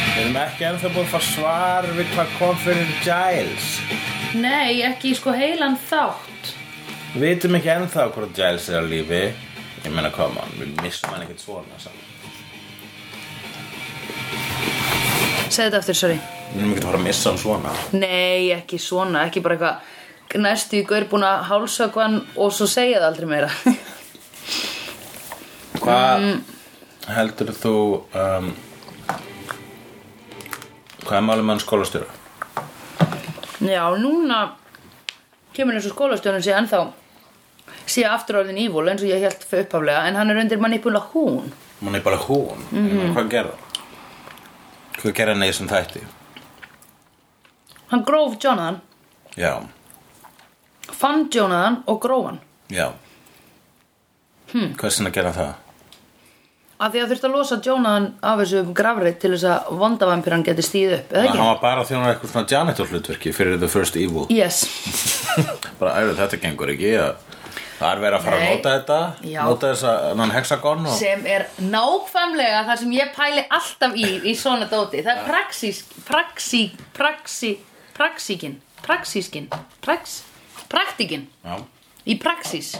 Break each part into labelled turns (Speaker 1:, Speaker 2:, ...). Speaker 1: ekki ennþá búin að fá svar við hvað kom fyrir Giles
Speaker 2: Nei, ekki sko heilan þátt.
Speaker 1: Við vitum ekki ennþá hvort Giles er á lífi Ég meina koma, við missum hann ekkert svona saman
Speaker 2: Segðu þetta aftur, sorry.
Speaker 1: Við erum ekkert að fara að missa hann svona
Speaker 2: Nei, ekki svona, ekki bara eitthvað næstu í gaur búin að hálsökva hann og svo segja það aldrei meira.
Speaker 1: Hvað heldur þú um, Hvað er málum hann skólastjóra?
Speaker 2: Já, núna kemur eins og skólastjónum sé ennþá sé aftur orðin ívól eins og ég held fyrir upphaflega en hann er undir manipula hún.
Speaker 1: Hún er bara hún mm -hmm. Hvað gerða? Hvað gerða hann í þessum þætti?
Speaker 2: Hann gróf Jonathan,
Speaker 1: Já,
Speaker 2: fann Jonathan og gróf hann.
Speaker 1: já hmm. Hvers vegna gerða hann það?
Speaker 2: Af því að þurfti að losa Jonathan af þessu grafrið til þess að vondavampir hann geti stíð upp, eða
Speaker 1: Þannig að
Speaker 2: ekki?
Speaker 1: hann var bara að þjóna eitthvað svona janitor hlutverki fyrir The First Evil
Speaker 2: Yes.
Speaker 1: bara æfðu þetta gengur ekki að það er verið að fara
Speaker 2: Nei.
Speaker 1: að nota þetta
Speaker 2: Já.
Speaker 1: nota þess að hann hexagon og
Speaker 2: sem er nákvæmlega það sem ég pæli alltaf í í svona dóti það er praxís praxí, praxí, praxíkin praxískin, prax praktikin,
Speaker 1: já,
Speaker 2: í praxís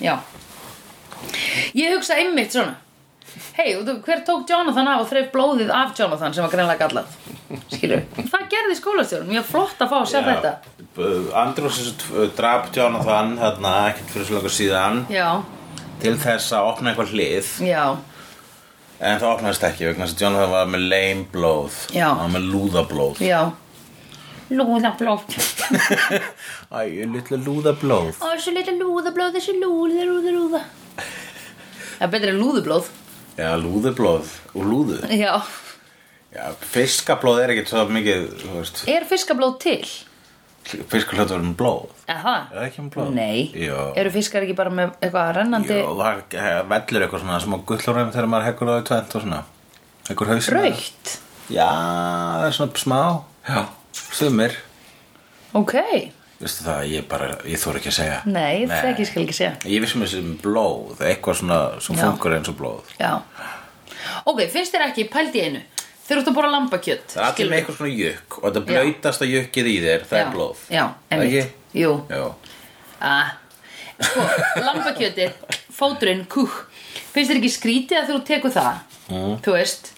Speaker 2: já ég hugsa einmitt svona hei, og þú- hver tók Jonathan af og þreif blóðið af Jonathan sem var greinlega gallað skilur, það gerði skólastjórnum ég er flott að fá að sjá þetta
Speaker 1: Andrós drap Jonathan þarna ekkert fyrir svo langar síðan
Speaker 2: já,
Speaker 1: til þess að opna eitthvað hlið
Speaker 2: já,
Speaker 1: en það opnaðist ekki vegna þess að Jonathan var með lame blóð
Speaker 2: Já.
Speaker 1: hann var með lúðablóð
Speaker 2: já lúða blóð
Speaker 1: Æ, litla lúðablóð
Speaker 2: Ó, þessu litla lúðablóð, þessu lúða, lúða, lúða Það er betri en lúðublóð
Speaker 1: Já, lúðublóð og lúðu
Speaker 2: Já
Speaker 1: Já, fiskablóð er ekkert svo mikið þú veist,
Speaker 2: Er fiskablóð til?
Speaker 1: fiskalötu verður með blóð
Speaker 2: Eða
Speaker 1: Er það ekki um blóð?
Speaker 2: Nei
Speaker 1: Jó.
Speaker 2: Eru fiskar ekki bara með eitthvað rennandi
Speaker 1: Já, og það eh, vellur eitthvað svona smá gullurinn þegar maður hekkur það í tvent og svona Hekkur hausinn
Speaker 2: Raukt?
Speaker 1: Já, það er svona smá Já, sumir
Speaker 2: Ok
Speaker 1: Veistu það, ég bara, ég þóra ekki að segja
Speaker 2: Nei, það ekki skal ekki segja
Speaker 1: Ég vissum þessi um blóð, eitthvað svona sem
Speaker 2: Já.
Speaker 1: funkar eins og blóð
Speaker 2: Já Ok, finnst þér ekki, pældi í einu Þeir eru að borða lambakjöt
Speaker 1: Það er allir með
Speaker 2: skilurðu?
Speaker 1: eitthvað svona jökk og þetta
Speaker 2: Já.
Speaker 1: blöytasta jökkið í þér, það
Speaker 2: Já,
Speaker 1: er blóð
Speaker 2: já,
Speaker 1: Það
Speaker 2: einmitt.
Speaker 1: ekki?
Speaker 2: Jú.
Speaker 1: Já,
Speaker 2: Ah. Sko, lambakjöti, fóturinn, kúk Finnst þér ekki skrítið að þú tekur það Þú veist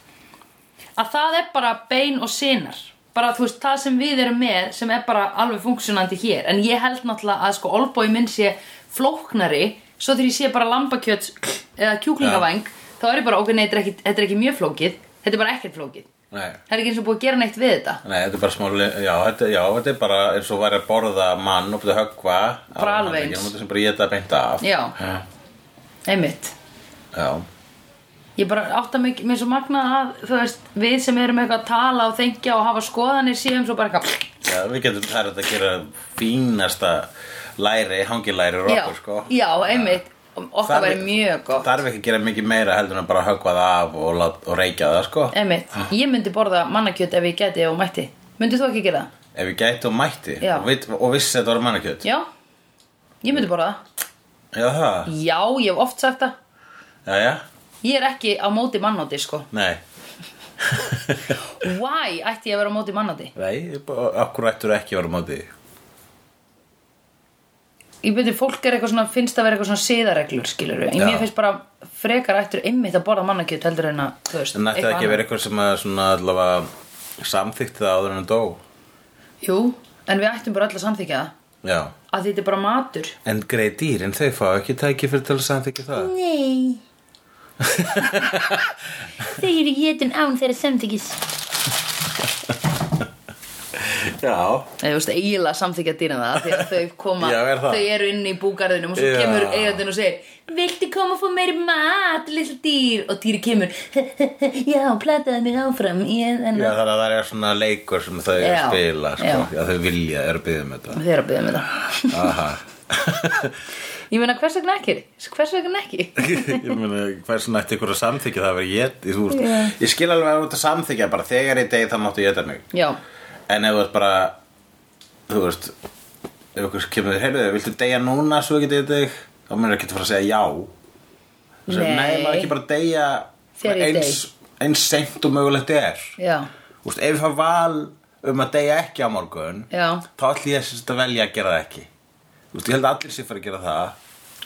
Speaker 2: Að það er bara bein og sinar Bara þú veist, það sem við erum með Sem er bara alveg funksjónandi hér En ég held náttúrulega að sko Olbói minn sé flóknari Svo þegar ég sé bara lambakjöt Eða kjúklingavæng Þá er ég bara, ok, nei, þetta er ekki, þetta er ekki mjög flókið Þetta er bara ekkert flókið
Speaker 1: nei
Speaker 2: Það er ekki eins og búið að gera neitt við þetta
Speaker 1: Nei, þetta er bara smá, le- já þetta, já, þetta er bara eins og væri að borða mann og byrja að höggva
Speaker 2: Bara
Speaker 1: á
Speaker 2: alveg
Speaker 1: mannleikinn,
Speaker 2: eins.
Speaker 1: og myndi sem bara geta beint af
Speaker 2: Já.
Speaker 1: Já,
Speaker 2: Einmitt
Speaker 1: já.
Speaker 2: Ég bara átta mig, mér svo magnað að þú veist, við sem erum eitthvað að tala og þengja og hafa skoðanir séum svo bara eitthvað
Speaker 1: Já, við getum það er hægt að gera fínasta læri, hangilæri
Speaker 2: Já,
Speaker 1: rokkur, sko.
Speaker 2: já, einmitt Okkar væri mjög gott
Speaker 1: Það er ekki að gera mikið meira heldur en bara að höggva það af og, lát, og reykja það, sko.
Speaker 2: Einmitt, ég myndi borða mannakjöt ef ég geti og mætti Myndi þú ekki gera það?
Speaker 1: Ef við gæti og mætti
Speaker 2: Já.
Speaker 1: og, vit, og vissi þetta voru mannakjöt.
Speaker 2: Já, ég myndi borða það
Speaker 1: Já, það.
Speaker 2: Já, ég hef oft sagt það
Speaker 1: Já, já.
Speaker 2: Ég er ekki á móti mannóti, sko
Speaker 1: Nei.
Speaker 2: Why ætti ég að vera á móti mannóti?
Speaker 1: Nei, okkur ættur ekki að vera á móti. því?
Speaker 2: Ég myndi fólk er eitthvað svona, finnst það vera eitthvað svona siðareglur, skilur við
Speaker 1: Já.
Speaker 2: Mér finnst bara frekar ættur einmitt að borða mannakjöt heldur en að, þú veist,
Speaker 1: En ætti það ekki
Speaker 2: eitthvað
Speaker 1: að
Speaker 2: annað.
Speaker 1: vera eitthvað sem að svona allavega samþykti það áður en að dó.
Speaker 2: Jú, en við ættum bara öll að samþykja það
Speaker 1: Já.
Speaker 2: að þetta er bara matur
Speaker 1: En greið dýr, en þau fá ekki tæki fyrir til að samþykja það.
Speaker 3: Nei. Þau eru getin án þeirra samþykis.
Speaker 1: Já.
Speaker 2: eða þú veist eiginlega samþykja dýran það af því að þau koma,
Speaker 1: Já, er það?
Speaker 2: þau eru inn í búgarðinum og svo
Speaker 1: Já.
Speaker 2: kemur eigandinn og segir viltu koma og fá meiri mat, litla dýr og dýri kemur já, plataði mig áfram ég, en,
Speaker 1: Já, þannig að það er svona leikur sem þau
Speaker 2: Já,
Speaker 1: spila, sko.
Speaker 2: já.
Speaker 1: Já. þau vilja, eru byggðið með þetta.
Speaker 2: þau eru að byggja með það
Speaker 1: Aha.
Speaker 2: ég meina hvers vegna ekki, hvers vegna ekki
Speaker 1: ég meina, hversu nætti ykkur að samþykja það að vera ég, þú veist. Ég skil alveg að þú ert að samþykja bara þegar í degi þá máttu ég þetta mig.
Speaker 2: já,
Speaker 1: En ef þú ert bara, þú veist, ef ykkur kemur þér, heyrðu, viltu deyja núna svo ekki deyja þig? Þá munir ekki að fara að segja já. Þessu,
Speaker 2: Nei.
Speaker 1: nei, maður ekki bara deyja
Speaker 2: Þegar ég
Speaker 1: eins, eins seint og mögulegt er.
Speaker 2: já
Speaker 1: Og úst, ef ég fá val um að deyja ekki á morgun
Speaker 2: Já.
Speaker 1: þá ætlum ég sem sagt að velja að gera það ekki úst, ég held að allir sér fara að gera það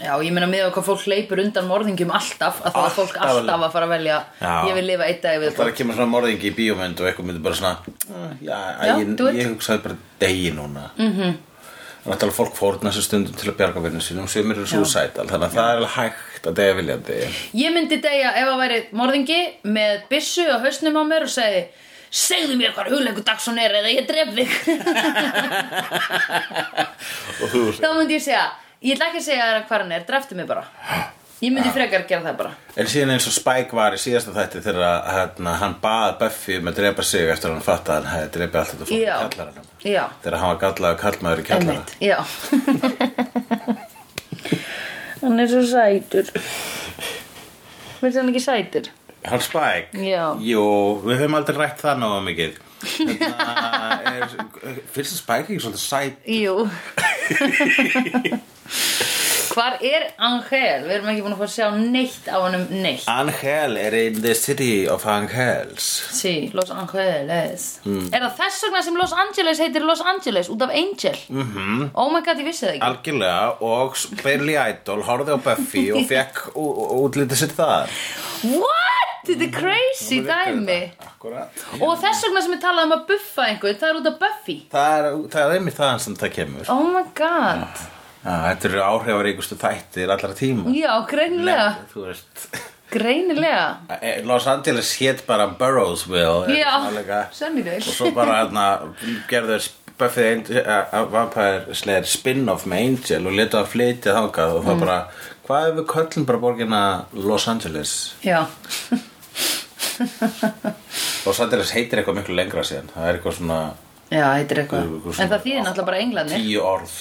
Speaker 2: Já, ég meina með hvað fólk leipur undan morðingjum alltaf að það er fólk
Speaker 1: Alltaf.
Speaker 2: alltaf að fara að velja
Speaker 1: Já.
Speaker 2: ég vil lifa eitt dag við
Speaker 1: Það er að kemur svona morðingi í bíómynd og eitthvað myndi bara svona "Mm, Já,
Speaker 2: Já,
Speaker 1: ég,
Speaker 2: do it." Mhm.
Speaker 1: ég hugsaði bara degi núna mm -hmm. Þannig að fólk fórna þessu stundum til að bjarga verðinu sínum sem eru suicidal Þannig að það er alveg hægt að degja viljandi
Speaker 2: Ég myndi degja ef að væri morðingi með byssu og hausnum á mér og segi segðu mér hvað hugleiku dagsson er eða ég dref þig
Speaker 1: Og þú
Speaker 2: þá myndi ég segja ég ætla ekki að segja þér hvað hann er, dreftu mig bara ég myndi frekar gera það bara
Speaker 1: En síðan eins og Spike var í síðasta þætti þegar hérna, hann bað Buffy um að drepa sig eftir að hann fatta að hann hefði drepið allt þetta fólk í
Speaker 2: Já.
Speaker 1: kjallaranum
Speaker 2: Já.
Speaker 1: Þegar hann var gallaður kallmaður í kjallaranum
Speaker 2: Einmitt, já Hann er svo sætur Finnst hann ekki sætur?
Speaker 1: Hann Spike?
Speaker 2: Já.
Speaker 1: Jú, við höfum aldrei rætt það náða mikið Hérna, er- Finnst þér Spike ekki svolítið sæt
Speaker 2: Jú Hvar er Angel? Við erum ekki búin að fá að sjá neitt á honum neitt
Speaker 1: Angel er in the city of Angels
Speaker 2: Sí, Los Angeles Er það þess vegna sem Los Angeles heitir Los Angeles út af Angel? Mm -hmm. Oh my god, ég vissi það ekki
Speaker 1: Algjörlega og Bailey Idol horfði á Buffy og fekk ú- ú- útlitið sitt þar
Speaker 2: What? Þetta er crazy dæmi
Speaker 1: Akkurat
Speaker 2: Og þess vegna sem ég talaði um að buffa einhvern Það er út af Buffy
Speaker 1: Það er, það er einmitt þaðan sem það kemur
Speaker 2: Oh my god
Speaker 1: ah, Þetta eru áhrifaríkustu þættir allra tíma
Speaker 2: Já, greinilega
Speaker 1: Þú veist
Speaker 2: Greinilega
Speaker 1: eh, Los Angeles hét bara Burrowsville eða
Speaker 2: Já,
Speaker 1: svona líka.
Speaker 2: sennideg
Speaker 1: og svo bara hérna gerðu þeir Buffy the Ang- eh, Vampire Slayer spin-off með Angel og letu að flytja þangað og það
Speaker 2: Mm.
Speaker 1: bara, hvað ef við köllum bara borgina Los Angeles
Speaker 2: Já,
Speaker 1: Los Angeles heitir eitthvað miklu lengra síðan það er eitthvað svona
Speaker 2: já, heitir eitthvað
Speaker 1: Guð, guð,
Speaker 2: Ah. En það
Speaker 1: svona-
Speaker 2: þýðir náttúrulega bara englandir
Speaker 1: tíu orð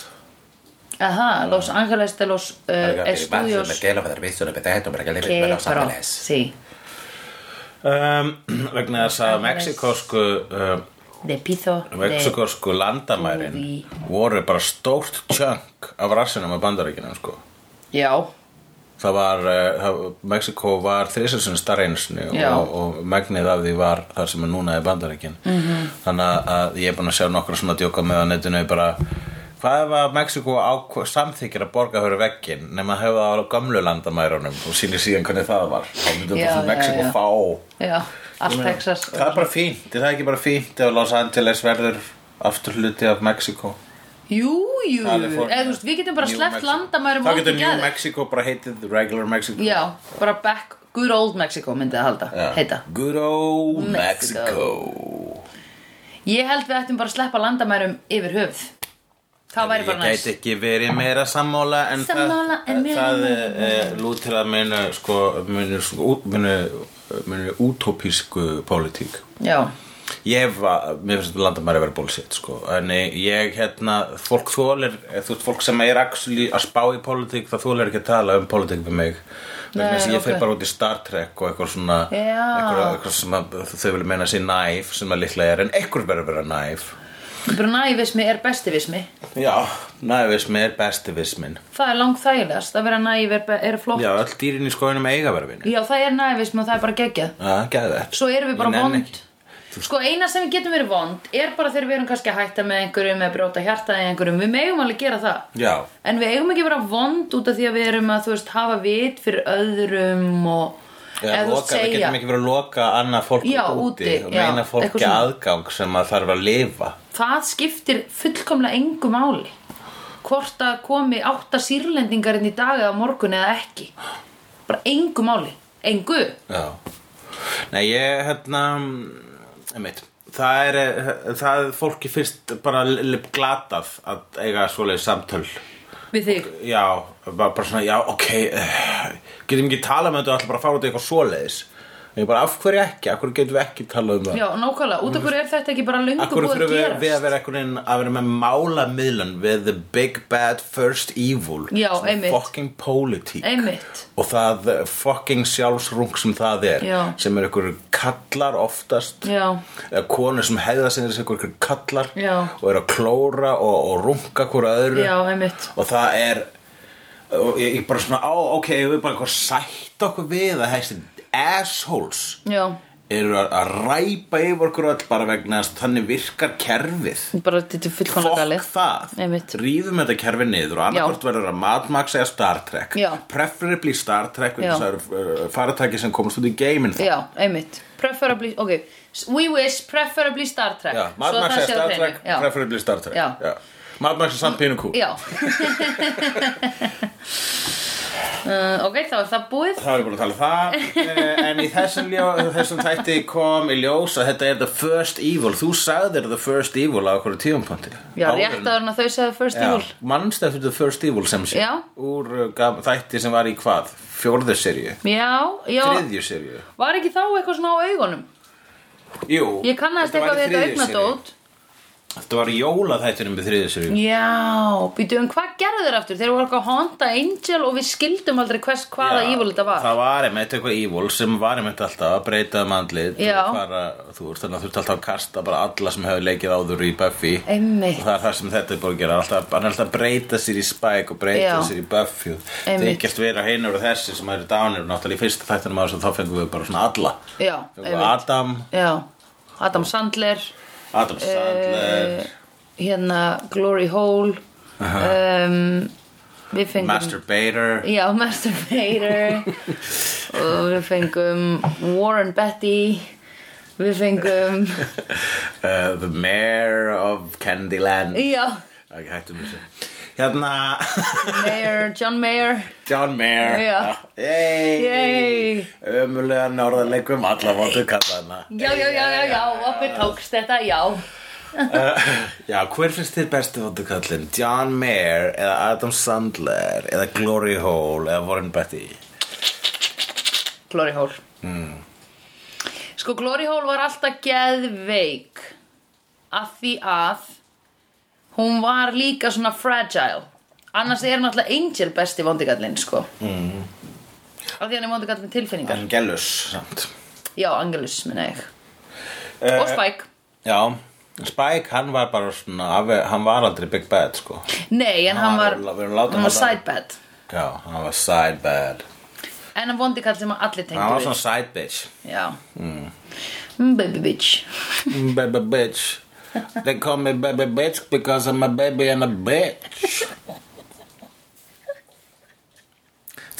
Speaker 2: Ajá, Los Ángeles de los
Speaker 1: Það
Speaker 2: uh,
Speaker 1: er ekki bara- það
Speaker 2: Estudios
Speaker 1: er bara- það er bara- það er bara- það er
Speaker 2: que
Speaker 1: bara- Los
Speaker 2: pro.
Speaker 1: Angeles.
Speaker 2: Sí,
Speaker 1: Um, vegna þess að mexikosku um,
Speaker 2: de piso de...
Speaker 1: mexikosku landamærin
Speaker 2: Úví.
Speaker 1: voru bara stórt tjönk af rassinum af bandaríkinum sko
Speaker 2: Já,
Speaker 1: það var, uh, það- Mexiko var þrisasun starreinsinu
Speaker 2: Já.
Speaker 1: og, og megnið af því var þar sem er núna er bandaríkin
Speaker 2: Mhm.
Speaker 1: -hmm. þannig að- að ég er búin að sjá nokkra svona djóka með á netinu bara hvað ef að Mexiko ákv- samþykir að borga fyrir veggin nema að hefa það á gömlu landamærunum og sýnir síðan hvernig það var þá myndum
Speaker 2: Já,
Speaker 1: bara
Speaker 2: já,
Speaker 1: Mexiko
Speaker 2: já.
Speaker 1: fá
Speaker 2: já,
Speaker 1: Ég
Speaker 2: allt
Speaker 1: meina,
Speaker 2: Texas
Speaker 1: það er bara fínt, er það ekki bara fínt ef Los Angeles verður aftur hluti af Mexiko
Speaker 2: Jú, jú,
Speaker 1: California.
Speaker 2: eða þú veist, við getum bara
Speaker 1: New
Speaker 2: sleppt
Speaker 1: Mexico.
Speaker 2: landamærum
Speaker 1: þá
Speaker 2: út
Speaker 1: getur
Speaker 2: í
Speaker 1: New
Speaker 2: geði.
Speaker 1: Mexico bara heitið regular Mexico
Speaker 2: Já, bara back, good old Mexico myndið að halda,
Speaker 1: Já.
Speaker 2: heita
Speaker 1: Good old
Speaker 2: Mexico.
Speaker 1: Mexico.
Speaker 2: Ég held við ættum bara að sleppa landamærum yfir höfð Það væri bara
Speaker 1: Ég
Speaker 2: næst
Speaker 1: gæti ekki verið meira sammála en
Speaker 3: Sammála
Speaker 1: það,
Speaker 3: en meira
Speaker 1: það er lútir að munu sko, munu, sko, út- munu, munu útópísku pólitík.
Speaker 2: Já,
Speaker 1: Ég hef, að- mér finnst þetta landamæri að vera bullshit sko, en ég hérna, fólk þólir, þú veist fólk sem er actually að spá í pólitík, það þólir ekki að tala um pólitík við mig. Vegna
Speaker 2: Nei,
Speaker 1: þess að ég
Speaker 2: ok.
Speaker 1: fer bara út í Star Trek og eitthvað svona,
Speaker 2: Já.
Speaker 1: eitthvað, eitthvað sem að, þau vilja meina sér næf, sem að líklega er, en einhver verður að vera næf.
Speaker 2: bara nævismi er bestivismi
Speaker 1: Já, næfismi er bestivismin
Speaker 2: Það er langt þægilegast að vera næv er, er flott
Speaker 1: Já, öll dýrin í skóinum eiga verið vinni
Speaker 2: Já, það er nævismi og það er bara geggjað
Speaker 1: Já, gæði þetta
Speaker 2: Svo erum við bara vond Sko eina sem við getum verið vond er bara þegar við erum kannski að hætta með einhverjum eða brjóta hjartaði einhverjum, við megum alveg gera það
Speaker 1: Já,
Speaker 2: En við eigum ekki að vera vond út af því að við erum að þú veist hafa vit fyrir öðrum og
Speaker 1: Eða
Speaker 2: þú
Speaker 1: loka, við getum ekki verið að loka annað fólk
Speaker 2: Já,
Speaker 1: úti
Speaker 2: úti,
Speaker 1: og
Speaker 2: já,
Speaker 1: meina
Speaker 2: eitthvað
Speaker 1: fólki
Speaker 2: svona.
Speaker 1: aðgang sem að þarf að lifa
Speaker 2: það skiptir fullkomlega engu máli hvort að komi átta sýrlendingarinn í dag eða á morgun eða ekki bara engu máli, engu
Speaker 1: Já Nei, ég, hérna einmitt, það er eh, það er fólki fyrst bara lip glatað að eiga svoleið samtöl
Speaker 2: við þig
Speaker 1: Já, bara, bara svona, já, ok eh, getum ekki talað með þetta og ætla bara að fara út í eitthvað svoleiðis en ég bara, af hverju ekki, af hverju getum við ekki talað um það
Speaker 2: Já, nákvæmlega, út af hverju er þetta ekki bara löngu
Speaker 1: Akkur
Speaker 2: búið að
Speaker 1: þurfum við, við að
Speaker 2: gerast
Speaker 1: vera einhvern veginn að vera með málamiðlun við the big bad first evil
Speaker 2: Já,
Speaker 1: Svona
Speaker 2: einmitt.
Speaker 1: fucking politík
Speaker 2: Einmitt,
Speaker 1: og það eh, fucking sjálfsrung sem það er
Speaker 2: Já.
Speaker 1: sem er einhverjur kallar oftast
Speaker 2: Já.
Speaker 1: eða konur sem hegða sinni sem einhverjur kallar
Speaker 2: Já.
Speaker 1: og eru að klóra og, og runga hvora öðru
Speaker 2: já, einmitt
Speaker 1: og það er og ég, ég bara svona, á, ok, við bara eitthvað sætt okkur við að þessi assholes
Speaker 2: Já,
Speaker 1: eru að, að ræpa yfir okkur öll bara vegna þess að þannig virkar kerfið
Speaker 2: bara þetta er fullkomna
Speaker 1: Fokk
Speaker 2: galið
Speaker 1: það,
Speaker 2: Einmitt.
Speaker 1: ríðum þetta kerfi niður og annarkort verður að Mad Max eða Star Trek
Speaker 2: Já.
Speaker 1: preferably Star Trek
Speaker 2: Já.
Speaker 1: vegna þess að það eru faratæki sem komast út í geiminn þá
Speaker 2: já, einmitt preferably, ok, we wish preferably Star Trek
Speaker 1: Já, Mad
Speaker 2: Svo
Speaker 1: Max
Speaker 2: það
Speaker 1: eða
Speaker 2: sé á
Speaker 1: Star
Speaker 2: hreinu.
Speaker 1: Trek,
Speaker 2: já.
Speaker 1: preferably Star Trek
Speaker 2: Já.
Speaker 1: Mad Max er samt pínu kú
Speaker 2: Já uh, Ok, þá er það búið
Speaker 1: Það er búin að tala um það eh, En í þessum, ljó, þessum þætti kom í ljós að þetta er the first evil Þú sagðir the first evil á okkur tíumponti
Speaker 2: Já, rétt áður en að þau segðu first
Speaker 1: Já,
Speaker 2: evil
Speaker 1: Manstu eftir The First Evil sem sé
Speaker 2: Já.
Speaker 1: Úr uh, gam- þætti sem var í hvað? Fjórðu serju?
Speaker 2: Já, já,
Speaker 1: Þriðju serju?
Speaker 2: var ekki þá eitthvað svona á augunum?
Speaker 1: Jú
Speaker 2: Ég kannast
Speaker 1: þetta var
Speaker 2: eitthvað
Speaker 1: í
Speaker 2: við þetta
Speaker 1: þriðju seríu.
Speaker 2: augnadót
Speaker 1: Þetta var jólaþættunum við þriðju serju
Speaker 2: Já, býtu um hvað gerðu þeir aftur? Þeir voru eitthvað að honda Angel og við skildum aldrei hvers hvaða evil þetta var
Speaker 1: Það var einmitt eitthvað evil sem var einmitt alltaf að breyta um andlit og
Speaker 2: Já.
Speaker 1: fara, Þú veist þannig að þú ert alltaf að kasta bara alla sem hefur leikið áður í Buffy
Speaker 2: Einmitt.
Speaker 1: Og það er það sem þetta er búin að gera alltaf, Hann er alltaf að breyta sér í Spike og breyta
Speaker 2: Já.
Speaker 1: sér í Buffy og
Speaker 2: Einmitt.
Speaker 1: Þykjast vera hinur og þessi sem eru dánir og náttúrulega í fyrsta þættunum á þessu þá fengum við bara svona alla
Speaker 2: Já,
Speaker 1: Fengum við
Speaker 2: einmitt
Speaker 1: Adam,
Speaker 2: Já, Adam Sandler
Speaker 1: Adam
Speaker 2: Eh,
Speaker 1: Sandler,
Speaker 2: Hérna, Glory Hole um, Við fengum
Speaker 1: Master Bader
Speaker 2: Já, Masturbator og við fengum Warren Betty við fengum
Speaker 1: uh, The Mayor of Candyland
Speaker 2: já,
Speaker 1: Ok, hættum þessu Hérna,
Speaker 2: Mayor, John Mayer
Speaker 1: John Mayer Ah,
Speaker 2: Já.
Speaker 1: Yay
Speaker 2: Yay.
Speaker 1: Ömulega norðarleikum allavóttu kallana
Speaker 2: já, já, já, já, já, okkur tókst þetta já,
Speaker 1: Já, hver finnst þér bestu vóttu kallin? John Mayer eða Adam Sandler eða Glory Hole eða Warren Betty
Speaker 2: Glory Hole
Speaker 1: Mm.
Speaker 2: sko Glory Hole var alltaf geðveik af því að hún var líka svona fragile annars er náttúrulega Angel besti vondigallinn sko mm. af því hann er vondigallinn tilfinningar
Speaker 1: Angelus samt
Speaker 2: Já, Angelus minna ég
Speaker 1: Eh,
Speaker 2: Og Spike
Speaker 1: Já, Spike hann var bara svona afi- hann var aldrei Big Bad sko
Speaker 2: Nei, en
Speaker 1: Hann
Speaker 2: hann var,
Speaker 1: var- við erum látum
Speaker 2: hann var
Speaker 1: að láta-
Speaker 2: sidebad
Speaker 1: Já, hann var side bad
Speaker 2: En hann vondi kall sem að allir
Speaker 1: Hann
Speaker 2: tengdu
Speaker 1: var svona side bitch
Speaker 2: við Já mm. Baby bitch
Speaker 1: Baby bitch They call me baby bitch because I'm a baby and a bitch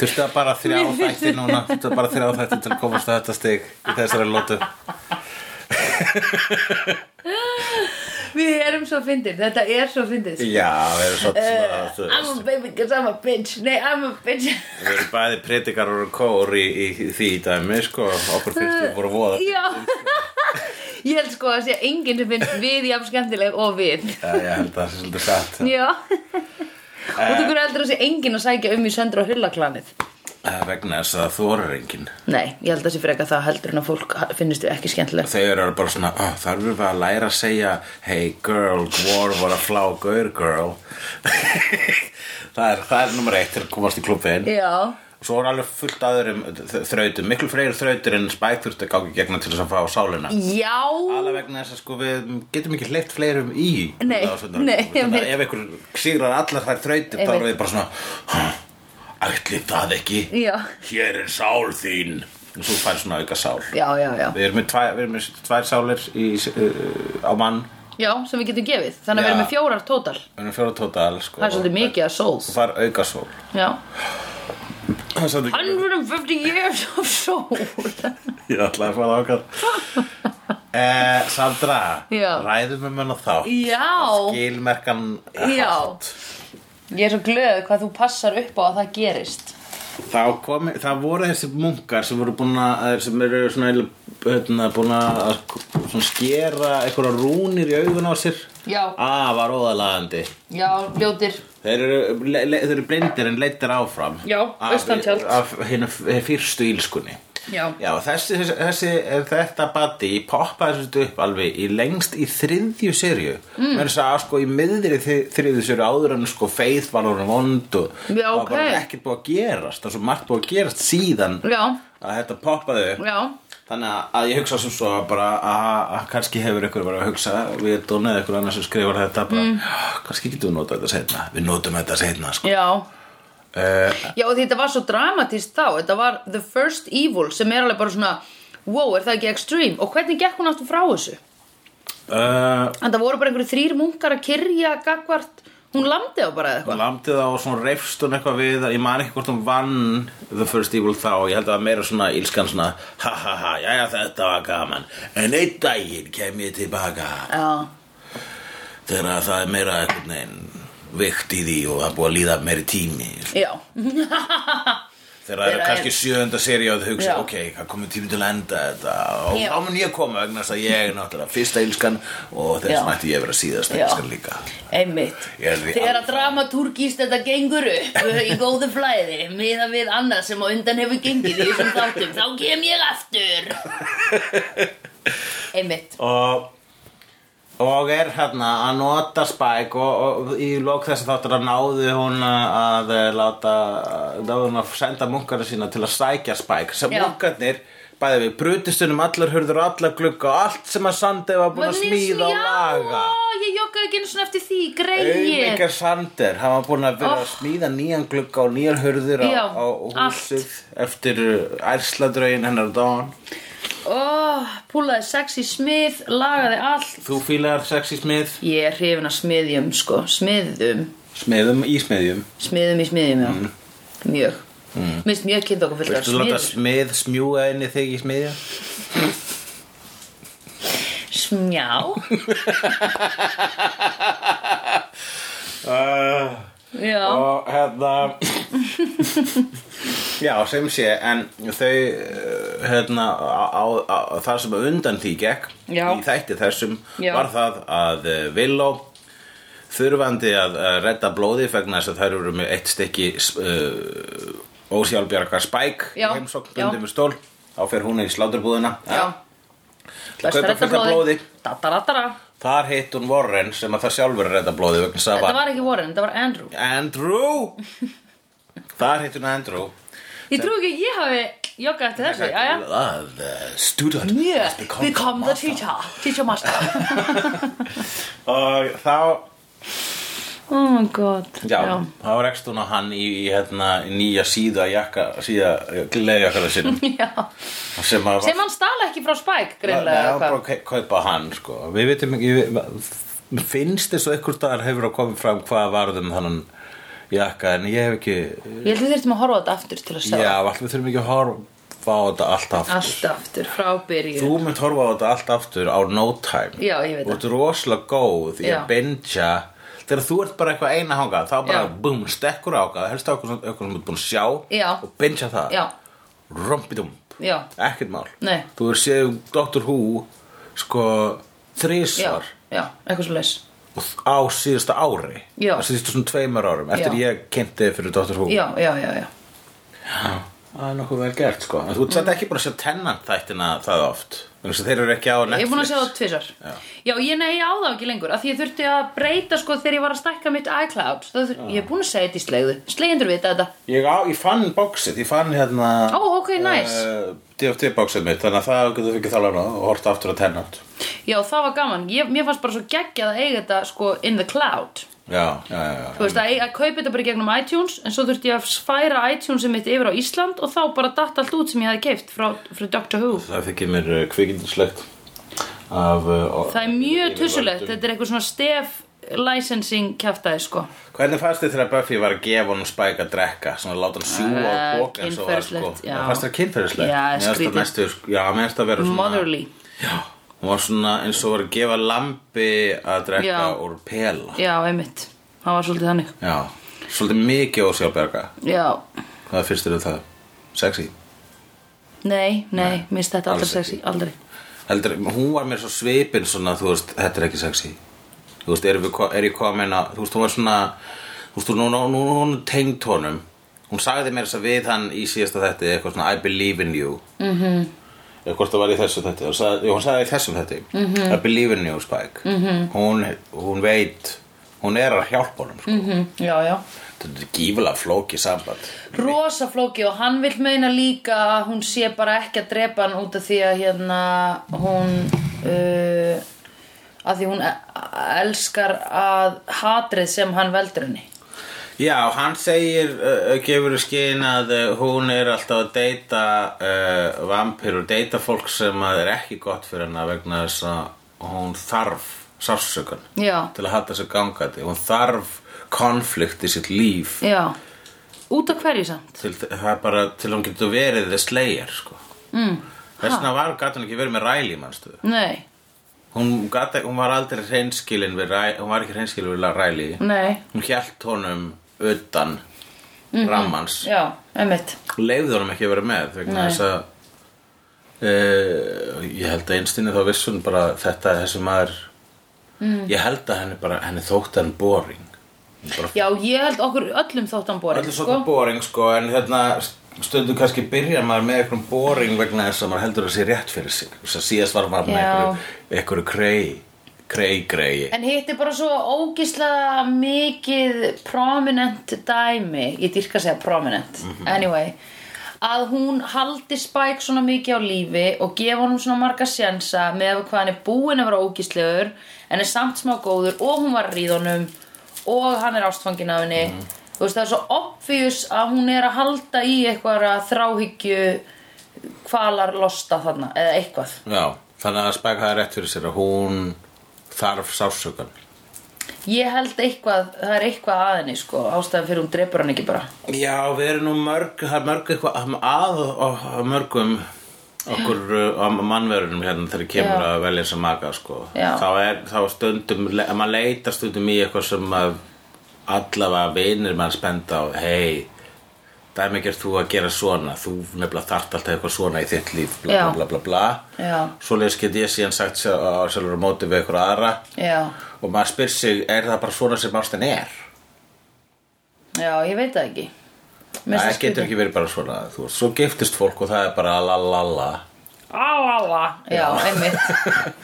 Speaker 1: Þurftu að bara þrjá þætti núna Þurftu að bara þrjá þætti til að komast að þetta stig í þessari lótu
Speaker 2: Við erum svo fyndin, þetta er svo fyndið
Speaker 1: Já, við erum svona þú
Speaker 2: I'm
Speaker 1: veist,
Speaker 2: a baby because I'm a bitch Nei, I'm a bitch
Speaker 1: Við erum bæði predikar og kór í, í því í dæmi sko, okkur fyrst við voru voða
Speaker 2: Já Ég held sko að sé enginn sem finnst við jafn skemmtileg og við
Speaker 1: Já, ég held að það sé svolítið satt
Speaker 2: Já Og þú hverju heldur að sé enginn að sækja um í söndur á hullaklanið
Speaker 1: Eh, vegna þess að þú orður enginn
Speaker 2: Nei, ég held að sé frekar það heldur en að fólk finnist við ekki skemmtileg
Speaker 1: Þau eru bara svona, oh, þar erum við að læra að segja Hey girl, war var að flá gaur girl það, er, það er nummer eitt til að komast í klubbin
Speaker 2: Já,
Speaker 1: Svo er alveg fullt aðurum þrautum, miklu fleiri þrautur en Spike þurfti að gangi gegna til þess að fá sálina
Speaker 2: já
Speaker 1: Alla vegna þess að sko við getum ekki hleypt fleirum í
Speaker 2: Nei,
Speaker 1: á svona-
Speaker 2: nei,
Speaker 1: Þannig
Speaker 2: einmitt.
Speaker 1: að ef einhver sigrar allar þær þrautum þá
Speaker 2: Einmitt.
Speaker 1: erum við bara svona "Huh, Ætli það ekki
Speaker 2: Já,
Speaker 1: Hér er sál þín Og svo fær svona auka sál
Speaker 2: já, já, já
Speaker 1: Við erum með tvær, við erum með tvær sálir í, uh, á mann Við
Speaker 2: Já, sem við getum gefið Þannig að við
Speaker 1: Já.
Speaker 2: erum með fjórar tótal
Speaker 1: erum fjóra tótal sko,
Speaker 2: Það er svolítið mikið að
Speaker 1: Og
Speaker 2: souls
Speaker 1: far auka sól
Speaker 2: Já
Speaker 1: Það er svolítið-
Speaker 2: 150 years of soul
Speaker 1: Ég ætlaði að fara ákvæð eh, Sandra
Speaker 2: Já.
Speaker 1: Ræðum við mönn á þá
Speaker 2: Já
Speaker 1: Skilmerkan
Speaker 2: Já.
Speaker 1: hátt.
Speaker 2: Ég er svo glöð hvað þú passar upp á að það gerist
Speaker 1: Þá komi, það voru þessi munkar sem voru búin að eh, sem eru svona eiginlega, hérna, búin að svona skera einhverja rúnir í augun á sér
Speaker 2: Já.
Speaker 1: Ah, var óðalagandi
Speaker 2: Já, ljótir
Speaker 1: Þeir eru, le, le, þeir eru blindir en leittir áfram
Speaker 2: Já,
Speaker 1: Af-
Speaker 2: austantjald.
Speaker 1: Af hinn fyrstu ílskunni
Speaker 2: Já,
Speaker 1: Já, þessi, þessi, þetta bati poppaði þessu upp alveg í lengst í þriðju serju mm. Mér sagði að sko í miðri þri, þriðju serju áður en sko feið var orðin vond og
Speaker 2: Já,
Speaker 1: það var
Speaker 2: ok.
Speaker 1: bara ekkert búið að gerast það er svo margt búið að gerast síðan
Speaker 2: já,
Speaker 1: að þetta poppaði upp
Speaker 2: já
Speaker 1: Þannig að ég hugsa sem svo að bara að að kannski hefur ykkur bara að hugsa við dónaði ykkur annars sem skrifar þetta bara, "Ah, kannski getum við notað þetta setna við notum þetta setna sko.
Speaker 2: Já,
Speaker 1: uh,
Speaker 2: já og því þetta var svo dramatist þá Þetta var the first evil sem er alveg bara svona wow, er það ekki extreme? Og hvernig gekk hún aftur frá þessu?
Speaker 1: uh,
Speaker 2: En það voru bara einhverju þrýr munkar að kyrja gagvart, hún landi á bara eða eitthvað.
Speaker 1: Lamdi það og svona reyfst hún eitthvað við Ég man ekki hvort hún vann The First Evil þá Ég held að það var meira svona ílskan svona Ha ha ha, jæja þetta var gaman En einn daginn kem ég tilbaka
Speaker 2: Já,
Speaker 1: Þegar það er meira einhvern veginn Vikt í því og það er búið að líða meiri tími
Speaker 2: já, Mhm.
Speaker 1: Þegar það eru
Speaker 2: Þegar
Speaker 1: kannski
Speaker 2: er-
Speaker 1: sjöunda seri og þau hugsa
Speaker 2: Já.
Speaker 1: Ok, það komið tími til að enda þetta Og
Speaker 2: Já.
Speaker 1: þá mun ég koma vegna þess að ég er náttúrulega fyrsta ílskan Og þess
Speaker 2: Já.
Speaker 1: vegna ætti ég að vera síðasta
Speaker 2: Já.
Speaker 1: ílskan líka
Speaker 2: einmitt.
Speaker 1: Ég er því
Speaker 2: Þegar
Speaker 1: alfa.
Speaker 2: að dramatúrgist þetta gengur upp uh, í góðu flæði, miða við annað sem á undan hefur gengið í þessum þáttum, þá kem ég aftur. Einmitt.
Speaker 1: og og er hérna að nota Spike og, og í lók þess að þáttur að náði hún að eh, láta náði hún að senda munkarna sína til að sækja Spike sem
Speaker 2: Já.
Speaker 1: munkarnir bæði við brutistunum allar hurður allar glugga og allt sem að Sandi var búin að smíða og laga
Speaker 2: Já, ó, ég joggaði ekki einu svona eftir því, greið.
Speaker 1: Auðvitað Sander, hann var búin að vera að
Speaker 2: Oh.
Speaker 1: smíða nýjan glugga og nýjar hurðir
Speaker 2: Já,
Speaker 1: á, á húsið eftir uh, ærsladrögin hennar Dawn
Speaker 2: Ó, púlaði sexy smið, lagaði allt.
Speaker 1: Þú fílar sexy smið,
Speaker 2: Ég er hrifin að smiðjum, sko, smiðum.
Speaker 1: smiðum í smiðjum
Speaker 2: Smiðum í smiðjum, já. Mjög. Mm. Minnst mjög kynnt okkur fullt af
Speaker 1: Viltu láta
Speaker 2: smiðjum.
Speaker 1: smið smjúga inn í þig í smiðja?
Speaker 2: Smjá.
Speaker 1: Uh,
Speaker 2: Já.
Speaker 1: og hérna Já, sem sé en þau uh, hérna, á, á, á, það sem undan því gekk
Speaker 2: Já.
Speaker 1: í þætti þessum
Speaker 2: Já.
Speaker 1: var það að eh, Villó þurfandi að uh, redda blóði vegna þess að þær eru með eitt stykki uh, ósjálfbjargar spæk
Speaker 2: Já.
Speaker 1: heimsókn
Speaker 2: Já.
Speaker 1: bundum við stól þá fer hún í sláturbúðina
Speaker 2: Já.
Speaker 1: að kaupa fullt af blóði
Speaker 2: Dataratara.
Speaker 1: Þar hitt hún Warren sem að það sjálfur er redda blóði vegna þess að
Speaker 2: Þetta var ekki Warren, þetta var Andrew.
Speaker 1: Andrew Þar hitt hún Andrew
Speaker 2: Ég trú ekki að ég hafi joggað eftir þessu, já, já.
Speaker 1: Það uh, student has
Speaker 2: Mjög.
Speaker 1: become
Speaker 2: Become the
Speaker 1: master.
Speaker 2: teacher. Teacher master.
Speaker 1: Og þá
Speaker 2: oh my god.
Speaker 1: Já, þá rekst hún á hann í, í hérna, nýja síða jakka síða gleðjakkara sinum
Speaker 2: Já.
Speaker 1: sem að
Speaker 2: Sem hann stala ekki frá Spike, greinlega.
Speaker 1: Nei,
Speaker 2: eða
Speaker 1: hún
Speaker 2: hvað.
Speaker 1: bara kau- kaupa hann sko. Við veitum ekki við, mér finnst þess að ykkur dagar hefur að koma fram hvað varðum þannan jakka en ég hef ekki
Speaker 2: Ég held við þurftum að horfa á þetta aftur til að sjá.
Speaker 1: Já, allt- við þurfum ekki að horfa á þetta allt aftur
Speaker 2: Allt aftur, frá byrju.
Speaker 1: Þú mynd horfa á þetta allt aftur á no time
Speaker 2: Já, ég veit
Speaker 1: Þú
Speaker 2: það.
Speaker 1: ert rosalega góð í
Speaker 2: Já.
Speaker 1: að bingja Þegar þú ert bara eitthvað eina hangað Þá bara,
Speaker 2: Já.
Speaker 1: búm, stekkur ákað Helst á eitthvað sem eitthvað sem þú ert búin að sjá
Speaker 2: Já.
Speaker 1: Og bingja það
Speaker 2: Já,
Speaker 1: Rompidump,
Speaker 2: já.
Speaker 1: ekkert mál
Speaker 2: Nei.
Speaker 1: Þú er séð um Dr. Who Sko,
Speaker 2: Já,
Speaker 1: þrísvar
Speaker 2: já, eitthvað svo leys.
Speaker 1: og þ- Á síðasta ári
Speaker 2: Já.
Speaker 1: Á Síðustu svona tveimur árum Eftir
Speaker 2: Já.
Speaker 1: ég kynnti þig fyrir Dr. Who
Speaker 2: Já, já, já, já.
Speaker 1: Það er nokkuð vel gert sko En Þú ert mm. ekki búin að sjá tennant þættina það oft Þannig að þeir eru ekki á Netflix
Speaker 2: Ég er búin að sjá það tvisar
Speaker 1: Já.
Speaker 2: Já, ég nei, ég á það ekki lengur Af því ég þurfti að breyta sko þegar ég var að stækka mitt iCloud Það þur... Ég er búin að segja þetta í slegðu Slegjendur vita þetta
Speaker 1: Ég, á, ég fann bóksið, ég fann hérna
Speaker 2: Ó, ok, nice.
Speaker 1: eh, DFT bóksið mitt, þannig að það getur fikið þálega nú og horta aftur á tennant
Speaker 2: Já, það var gaman ég, Mér fannst bara svo geggjað að eiga þetta sko in the cloud
Speaker 1: Já, já, já, já.
Speaker 2: Þú veist, að, eiga- að kaupa þetta bara í gegnum iTunes En svo þurfti ég að færa iTunesið mitt yfir á Ísland Og þá bara datt allt út sem ég hafði keift frá, frá Dr. Who
Speaker 1: Það fikið mér uh, kvikindislegt af uh,
Speaker 2: Það er mjög tussulegt
Speaker 1: yfirvöldum.
Speaker 2: Þetta er eitthvað svona stef licensing kjaftaði sko
Speaker 1: Hvernig fannst þið þegar Buffy var að gefa honum spæk að drekka Svona að láta hann sjúga á
Speaker 2: Eh,
Speaker 1: bók eins og var sko
Speaker 2: kynferðislegt, já.
Speaker 1: Það fannst það kynferðislegt
Speaker 2: Já,
Speaker 1: Mér fannst það
Speaker 2: skrítið.
Speaker 1: næstu, Já, mér fannst það vera svona
Speaker 2: Motherly
Speaker 1: Já, hún var svona eins og var að gefa lambi að drekka
Speaker 2: Já.
Speaker 1: úr pela
Speaker 2: Já, einmitt Það var svolítið þannig
Speaker 1: Já, svolítið mikið ósjálfberga
Speaker 2: Já,
Speaker 1: Hvað finnst þér um það? Sexy?
Speaker 2: Nei, nei, minnst þetta aldrei
Speaker 1: alls ekki.
Speaker 2: sexy, aldrei
Speaker 1: Heldur, hún var mér svo svipin svona, þú veist, þetta er ekki sexy Þú veist, er, við, ko- er ég komin að, þú veist, hún var svona Þú veist, hún, hún, hún, hún tengd honum Hún sagði mér þess að við hann í síðasta þetta Eitthvað svona, I believe in you mm -hmm. Eða hvort það var í þessu þetta Hún sagði, jú, hún sagði í þessum þetta mm -hmm. I believe in you, Spike mm -hmm. hún, hún veit, hún er að hjálpa honum
Speaker 2: Mhm.
Speaker 1: sko.
Speaker 2: Já, já
Speaker 1: Þetta er gífulega flóki samband
Speaker 2: Rosa flóki og hann vil meina líka að hún sé bara ekki að drepa hann út af því að hérna hún uh, að því hún e- elskar að hatrið sem hann veldur henni
Speaker 1: Já, hann segir, uh, gefur skinn að uh, hún er alltaf að deyta uh, vampir og deyta fólk sem að er ekki gott fyrir hana vegna þess að hún þarf sársökan
Speaker 2: Já.
Speaker 1: til að halda sér gangandi. Hún þarf konflikt í sitt líf
Speaker 2: Já, út af hverju samt
Speaker 1: til, það er bara til hún getur verið þess leir, sko.
Speaker 2: mm.
Speaker 1: Þess vegna var gat hún ekki verið með ræli, manstu.
Speaker 2: Nei,
Speaker 1: Hún, gat, e-, hún var aldrei hreinskilin við ræli, hún var ekki hreinskilin við ræli.
Speaker 2: nei,
Speaker 1: Hún hjælt honum utan rammans.
Speaker 2: já, emmitt
Speaker 1: og leiði honum ekki að vera með vegna
Speaker 2: Nei.
Speaker 1: þess að uh, ég held að einstinni þá vissun bara þetta þessi maður mm. ég held að henni bara henni þótt hann boring Hún bara,
Speaker 2: Já, ég held okkur öllum þóttan boring
Speaker 1: allir svona boring sko en hérna stundu kannski byrja maður með eitthvað boring vegna þess að maður heldur að sé rétt fyrir sig þess að síðast var maður með
Speaker 2: Já. Eh.
Speaker 1: einhverju, einhverju krei krei grei
Speaker 2: En hitt er bara svo ógislega mikið prominent dæmi Ég dyrka að segja prominent Anyway að hún haldi Spike svona mikið á lífi og gefa honum svona marga sjensa með hvað hann er búinn að vera ógíslegur en er samt smá góður og hún var að ríða honum og hann er ástfangin af henni þú veist það er svo obvious að hún er að halda í eitthvað þráhyggju hvalar losta þarna eða eitthvað
Speaker 1: já þannig að Spike hafi rétt fyrir sér að hún þarf sásökan
Speaker 2: Ég held eitthvað, það er eitthvað að henni sko, ástæðan fyrir hún drepur hann ekki bara.
Speaker 1: Já, við erum nú mörg, það er mörg eitthvað að og mörgum okkur uh, mannverunum hérna þegar kemur
Speaker 2: Já.
Speaker 1: að velja sem maka sko.
Speaker 2: Já.
Speaker 1: Þá er, þá stundum, ef maður leitar stundum í eitthvað sem að allavega vinir maður spenda á, hei, dæmi ekki þú að gera svona, þú nefnilega þart alltaf eitthvað svona í þitt líf, bla
Speaker 2: Já.
Speaker 1: bla bla bla bla.
Speaker 2: Já.
Speaker 1: Svoleiðis get ég síðan sagt sjá- á sjálfur á móti við eitthvað aðra
Speaker 2: Já,
Speaker 1: og maður spyr sig, er það bara svona sem ástin er?
Speaker 2: já, ég veit það ekki. Mér
Speaker 1: Nei,
Speaker 2: finnst
Speaker 1: það getur ekki verið bara svona þú, veist, Svo giftist fólk og það er bara la la la
Speaker 2: Á, á, á, já, einmitt.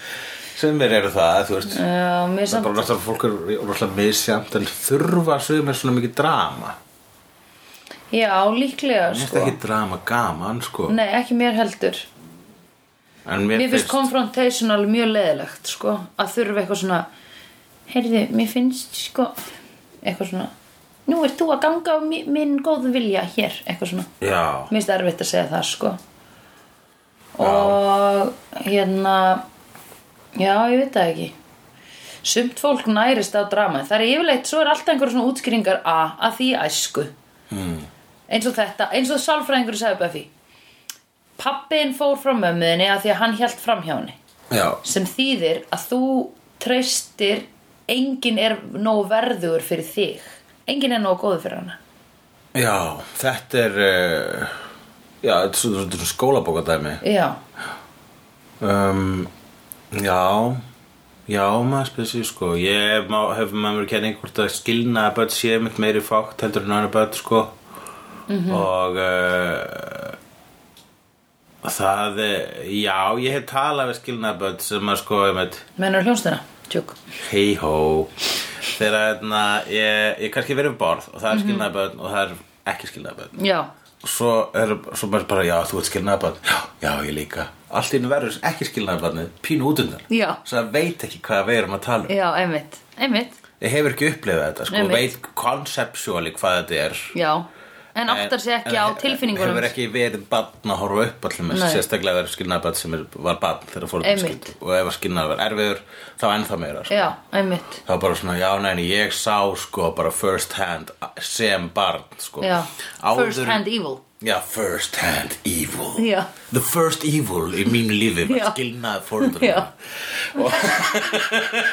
Speaker 1: Sumir eru það, þú veist Það
Speaker 2: Já, mér
Speaker 1: er
Speaker 2: samt,
Speaker 1: bara náttúrulega fólk er rosalega misjamt En þurfa sumir svona mikið drama
Speaker 2: já, líklega
Speaker 1: Mér finnst
Speaker 2: sko.
Speaker 1: ekki drama gaman, sko
Speaker 2: Nei, ekki mér heldur.
Speaker 1: En mér,
Speaker 2: Mér finnst confrontational mjög leðilegt sko, að þurfa eitthvað svona, heyrðu, mér finnst sko, eitthvað svona, nú ert þú að ganga á mi- minn góðu vilja hér, eitthvað svona.
Speaker 1: Já,
Speaker 2: Mér finnst erfitt að segja það sko Og hérna Já, ég veit það ekki Sumt fólk nærist á drama Það er yfirleitt, svo er alltaf einhverjum svona útskýringar A, að því í æsku mm. Eins og þetta, eins og sálfræðingur sagði Buffy Pappin fór frá mömmuðinni að því að hann hjælt fram hjá henni
Speaker 1: já,
Speaker 2: sem þýðir að þú treystir enginn er nóg verður fyrir þig enginn er nóg góður fyrir hana
Speaker 1: já Þetta er uh, Já, þetta er svona- svona skólabókadæmi
Speaker 2: Já,
Speaker 1: um, Já Já, maður spyrir sér sko Ég má, hef maður kenning hvort að skilna börn sé mitt meiri fátt heldur en annar börn sko og uh, það er- já, ég hef talað við skilna börn sem að sko einmitt,
Speaker 2: mennur hljónstuna, tjúk
Speaker 1: hei hó þegar hérna, ég, ég kannski verið við borð og það er skilna börn og það er ekki skilna börn
Speaker 2: Já,
Speaker 1: svo er svo maður bara, já, þú ert skilnaðabann já, já, ég líka allt í einu verður ekki skilnaðabannið, pínu út undan
Speaker 2: Já.
Speaker 1: svo það veit ekki hvað við erum að tala um
Speaker 2: Já, einmitt, einmitt,
Speaker 1: ég hefur ekki upplifað þetta, sko,
Speaker 2: Einmitt.
Speaker 1: veit conceptually hvað þetta er
Speaker 2: já En áttar sig
Speaker 1: en-
Speaker 2: ekki á
Speaker 1: en
Speaker 2: tilfinningunum
Speaker 1: hefur ekki verið bann að horfa upp allir með
Speaker 2: Nei.
Speaker 1: sérstaklega verður skilnaðabann sem er, var bann þegar fóruðum
Speaker 2: Einmitt.
Speaker 1: skilt um og ef skilnaðabann var erfiður, þá ennþá meira sko.
Speaker 2: Já, einmitt,
Speaker 1: það var bara svona, já, neini, ég sá sko bara first hand sem barn sko.
Speaker 2: já
Speaker 1: Áður-
Speaker 2: First hand evil
Speaker 1: Já, first hand evil
Speaker 2: Já.
Speaker 1: The first evil í mínu lífi
Speaker 2: Já.
Speaker 1: var skilnaði fórundurinn
Speaker 2: Já.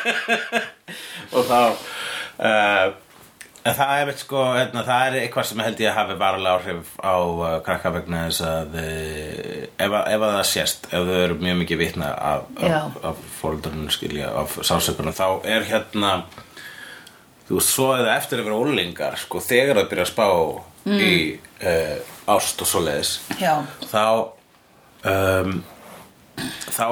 Speaker 1: og þá uh, en það er veit sko hérna, það er eitthvað sem held ég að hafi varulega áhrif á uh, krakka vegna þess að uh, ef, að- ef að það sést ef þau eru mjög mikið vitna af,
Speaker 2: Já.
Speaker 1: af, af fórundurinn skilja af sásökunum þá er hérna þú veist, svo eða eftir að vera ólingar sko, þegar það byrja að spá í
Speaker 2: Mm.
Speaker 1: uh, ást og svoleiðis
Speaker 2: Já,
Speaker 1: þá um, þá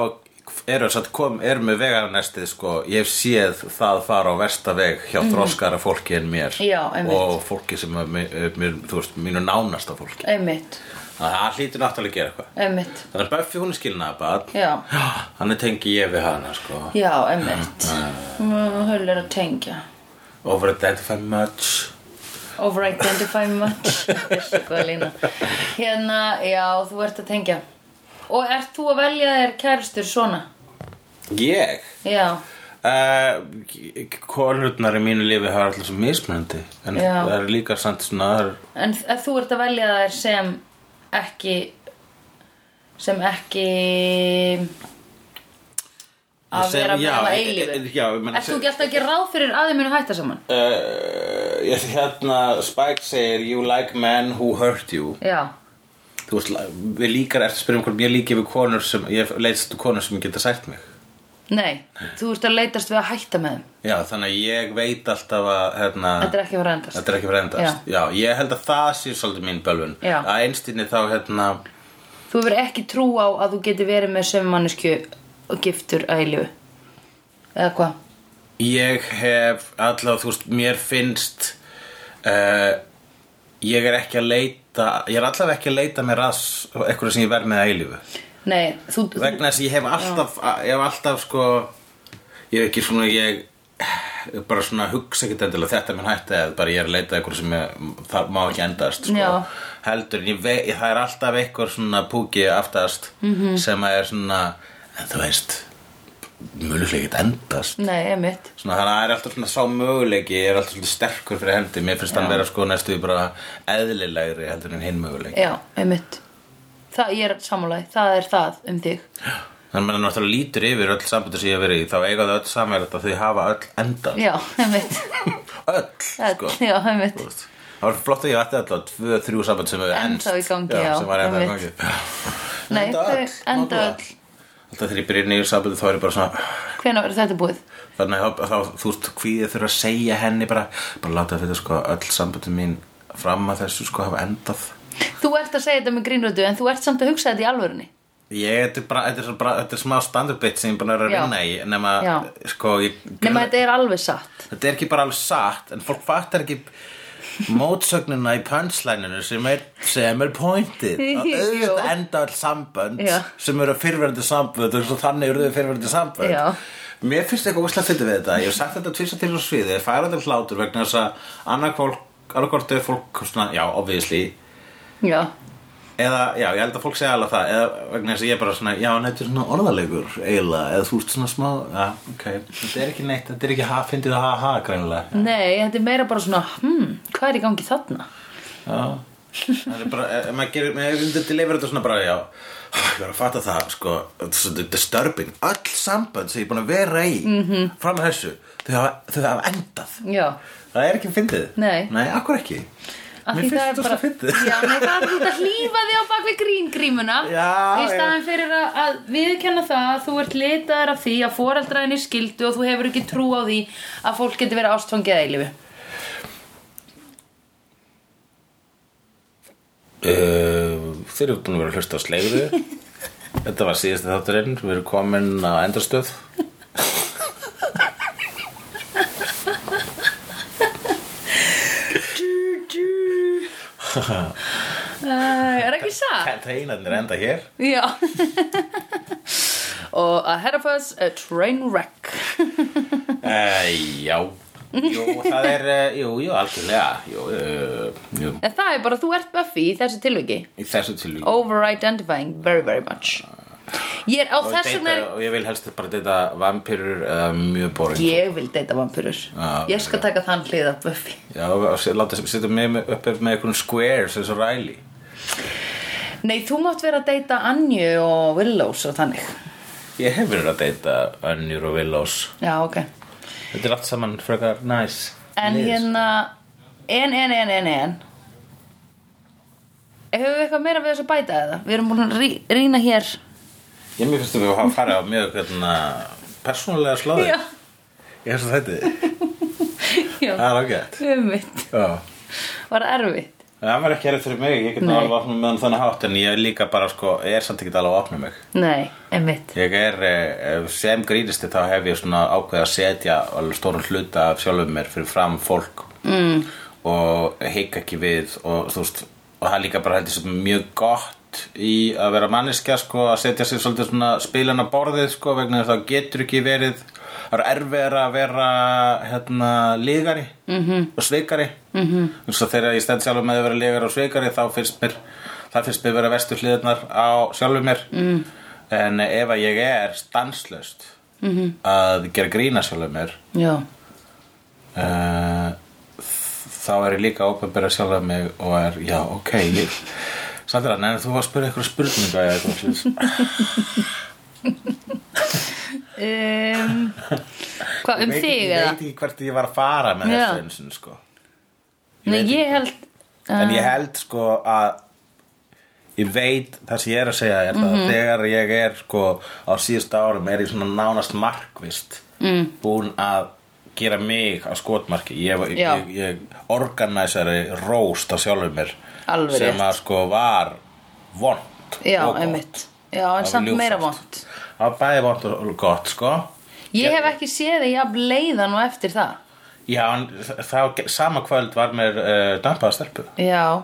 Speaker 1: erum satt kom, erum við vegarnestið sko, ég hef séð það fara á versta veg hjá þroskara fólki en mér
Speaker 2: Mhm. Já, einmitt.
Speaker 1: og fólki sem er mi- er mér, þú veist, mínu nánasta fólki
Speaker 2: einmitt,
Speaker 1: það það hlýtur náttúrulega að gera eitthvað
Speaker 2: einmitt
Speaker 1: þannig að Buffy hún er skilnaðabat
Speaker 2: Já,
Speaker 1: þannig tengi ég við hana sko
Speaker 2: já, einmitt Höll er að tengja
Speaker 1: over identify much
Speaker 2: over identify much þessu góð lína hérna, já, þú ert að tengja og ert þú að velja þér kærustur svona?
Speaker 1: Ég?
Speaker 2: já,
Speaker 1: Uh, konurnar í mínu lífi hafa alltaf svo mismunandi en
Speaker 2: Já.
Speaker 1: það er líka samt svona það er,
Speaker 2: en þ- ef þú ert að velja þær sem ekki sem ekki að
Speaker 1: Sem-
Speaker 2: vera
Speaker 1: já,
Speaker 2: með að
Speaker 1: e-
Speaker 2: eilífu
Speaker 1: e- já, ég meina,
Speaker 2: ert þú
Speaker 1: sem-
Speaker 2: ekki alltaf ekki ráð fyrir að þið munu hætta saman?
Speaker 1: uh, ég- hérna Spike segir you like men who hurt you
Speaker 2: já,
Speaker 1: þú veist, við líkar eftir að spyrja um hvort ég líki við konur sem, ég leitst konur sem geta sætt mig
Speaker 2: nei, þú ert að leitast við að hætta með þeim
Speaker 1: já, þannig að ég veit alltaf að hérna,
Speaker 2: þetta er ekki að fara að endast
Speaker 1: Þetta er ekki frendast Já. ég held að það sé svolítið mín bölvun
Speaker 2: Já.
Speaker 1: Að einstinni þá hérna
Speaker 2: Þú hefur ekki trú á að þú getur verið með sem manneskju og giftur að eilífu Eða hvað?
Speaker 1: Ég hef allavega, þú veist, mér finnst uh, Ég er ekki að leita Ég er allavega ekki að leita mér að s- einhverju sem ég verð með að eilífu
Speaker 2: Nei, þú,
Speaker 1: vegna þess að ég hef alltaf ég hef alltaf sko ég hef ekki svona ég bara svona hugsa ekkert endilega þetta er minn hætti eða bara ég er að leita að einhverju sem ég, það má ekki endast sko.
Speaker 2: Já.
Speaker 1: heldur en ég vei, það er alltaf einhver svona púki aftast -hmm. sem að er svona en þú veist mjögulega ekkert endast
Speaker 2: nei, emitt
Speaker 1: svona þannig að það er alltaf svona sá möguleiki ég er alltaf svona sterkur fyrir hendi mér finnst hann vera sko næstu því bara eðlilegri heldur en hinn möguleiki
Speaker 2: Já, emitt Það, ég er sammálaði, það er það um þig
Speaker 1: Þannig að maður náttúrulega lítur yfir öll sambundu sem ég hef verið í, þá eiga þau öll samverð að þau hafa öll endað.
Speaker 2: Já, emitt
Speaker 1: Öll, sko.
Speaker 2: Já, emitt
Speaker 1: Þú veist. Það var flott að ég ætti alltaf tvö, þrjú sambund sem hefur
Speaker 2: Ennþá
Speaker 1: endst.
Speaker 2: í gangi, já,
Speaker 1: sem var ennþá í gangi.
Speaker 2: einmitt. Nei, þau enda öll.
Speaker 1: Alltaf þegar ég byrja nýjur sambundu þá er ég bara svona,
Speaker 2: Hvenær er þetta búið?
Speaker 1: þannig að þá, þú veist, hvíðið þurfa að segja henni bara, bara láta þetta sko öll sambundu mín fram að þessu sko hafa endað.
Speaker 2: Þú ert að segja þetta með grínrötu en þú ert samt að hugsa þetta í alvörunni
Speaker 1: Ég, þetta er bara, þetta er, svo bara, þetta er smá standard bit sem ég er búin að vera
Speaker 2: Já.
Speaker 1: að vinna í, nema,
Speaker 2: Já.
Speaker 1: sko, ég...
Speaker 2: Nema þetta er alveg satt
Speaker 1: Þetta er ekki bara alveg satt En fólk fattar ekki mótsögnina í punchlineinu sem er, sem er pointið að auðvitað
Speaker 2: Jú.
Speaker 1: enda all sambönd
Speaker 2: Já.
Speaker 1: sem eru fyrverandi sambönd og svo þannig eru þau fyrverandi sambönd
Speaker 2: Já.
Speaker 1: Mér finnst eitthvað úslega fyndið við þetta Ég hef sagt þetta tvisar til á sviði Ég færa þetta um hlátur vegna þess að annarkvort er fólk svona, já, obviously
Speaker 2: Já,
Speaker 1: eða, já, ég held að fólk segja alveg það eða vegna þess að ég er bara svona, já, hann þetta er svona orðalegur eiginlega, eða þú ert svona smá já, ok, þetta er ekki neitt, þetta er ekki ha, fyndið að ha-ha grænilega
Speaker 2: nei, þetta er meira bara svona hmm, Hvað er í gangi þarna?
Speaker 1: Já. það er bara, ef maður gerir, maður gerir þetta leifir þetta svona bara, já, ég var að fatta það, sko, þetta er svona disturbing, öll sambönd sem ég er búin að vera í, -hmm.
Speaker 2: Mhm.
Speaker 1: fram að þessu, þau hafa, þau hafa endað,
Speaker 2: Já,
Speaker 1: það er ekki fyndið,
Speaker 2: Nei.
Speaker 1: nei, akkur ekki,
Speaker 2: Af
Speaker 1: mér
Speaker 2: því
Speaker 1: finnst þetta
Speaker 2: bara-
Speaker 1: svona fyndið,
Speaker 2: Já, nei, það er út að hlýfa þig á bakvið gríngrímuna
Speaker 1: Já,
Speaker 2: Í staðan fyrir að, að viðkenna það að þú ert litaður af því að foreldraðinni skildu og þú hefur ekki trú á því að fólk getur verið ástfangið að eilifu
Speaker 1: uh, þeir eru búin að vera að hlusta á slegðu, þetta var síðasti þátturinn, við erum komin á endastöð,
Speaker 2: uh, Er ekki satt?
Speaker 1: teinarnir enda hér,
Speaker 2: Já Og ahead of us a train wreck
Speaker 1: uh, já, jú, það er, uh, jú, jú, algjörlega, jú, uh, jú,
Speaker 2: En það er bara, þú ert Buffy í þessu tilviki
Speaker 1: í þessu tilvík.
Speaker 2: Over identifying very very much Ég er á
Speaker 1: og,
Speaker 2: þess vegna
Speaker 1: deyta, og ég vil helst bara deyta vampýrur eða mjög boring
Speaker 2: Ég vil deyta vampyrur
Speaker 1: Já,
Speaker 2: Ég skal taka þann hlið af Buffy
Speaker 1: já, og se- láta setja mig með- upp með einhvern squares eins og Riley
Speaker 2: Nei, þú mátt vera að deyta Anju og Willows og þannig.
Speaker 1: ég hef verið að deyta önnjur og villos
Speaker 2: Já, ok.
Speaker 1: þetta er allt saman frekar næs
Speaker 2: En
Speaker 1: Niðurs.
Speaker 2: hérna, en, en, en, en, en. Hefur við eitthvað meira við þess að bæta eða? Við erum búin að rí, rýna hér.
Speaker 1: ég mér finnst að við hafa farið á mjög hérna, persónulega slóði
Speaker 2: Já,
Speaker 1: ég hef svo þetta
Speaker 2: já. um
Speaker 1: það er ágætt
Speaker 2: Umvitt.
Speaker 1: Já.
Speaker 2: Var erfitt.
Speaker 1: það var ekki erið fyrir mig ég get
Speaker 2: Nei.
Speaker 1: alveg opnað meðan þannig hátt en ég líka bara sko ég er samt ekki alveg að opna mig
Speaker 2: Nei, einmitt.
Speaker 1: Ég er, eh, sem grínisti þá hef ég svona ákveð að setja alveg stóran hluta af sjálfum mér fyrir fram fólk mm. og heika ekki við og þú veist og það er líka bara heldur sem mjög gott í að vera manneskja sko að setja sér svolítið svona spilana borðið sko vegna þess að það getur ekki verið það er erfið að vera hérna, lígari -hmm. og sveikari mm -hmm. svo þegar ég stend sjálfur með að vera lígari og sveikari þá finnst mér það finnst mér vera vestu hliðarnar á sjálfur mér mm. en ef að ég er stanslöst -hmm.
Speaker 2: Mhm.
Speaker 1: að gera grína sjálfur mér
Speaker 2: já,
Speaker 1: uh, þá er ég líka ópenbæra sjálfur mig og er, já, ok ég, Sandra, neina, þú var að spyrja eitthvað spurninga eða eitthvað svoleiðis.
Speaker 2: um, hvað um
Speaker 1: Ég veit-
Speaker 2: þig
Speaker 1: Ég
Speaker 2: eða?
Speaker 1: veit ekki hvert ég var að fara með
Speaker 2: Já.
Speaker 1: þessu eins og sko
Speaker 2: Nei,
Speaker 1: veit
Speaker 2: ég held
Speaker 1: En ég
Speaker 2: Ah.
Speaker 1: held sko að ég veit það sem ég er að segja er það
Speaker 2: Mhm.
Speaker 1: að þegar ég er sko á síðustu árum er ég svona nánast markvist mm. búin að gera mig á skotmarki ég, ég,
Speaker 2: Já.
Speaker 1: ég, ég organisari róst á sjálfum mér
Speaker 2: Alveg
Speaker 1: sem
Speaker 2: rétt.
Speaker 1: að sko var vond
Speaker 2: Já,
Speaker 1: og gott.
Speaker 2: einmitt Já, en
Speaker 1: var
Speaker 2: samt
Speaker 1: ljúft.
Speaker 2: meira vond
Speaker 1: það var bæði vond og gott sko
Speaker 2: Ég hef ekki séð þig jafn leiðan og eftir það
Speaker 1: Já, en þá sama kvöld var mér uh, dampaða stelpu
Speaker 2: Já,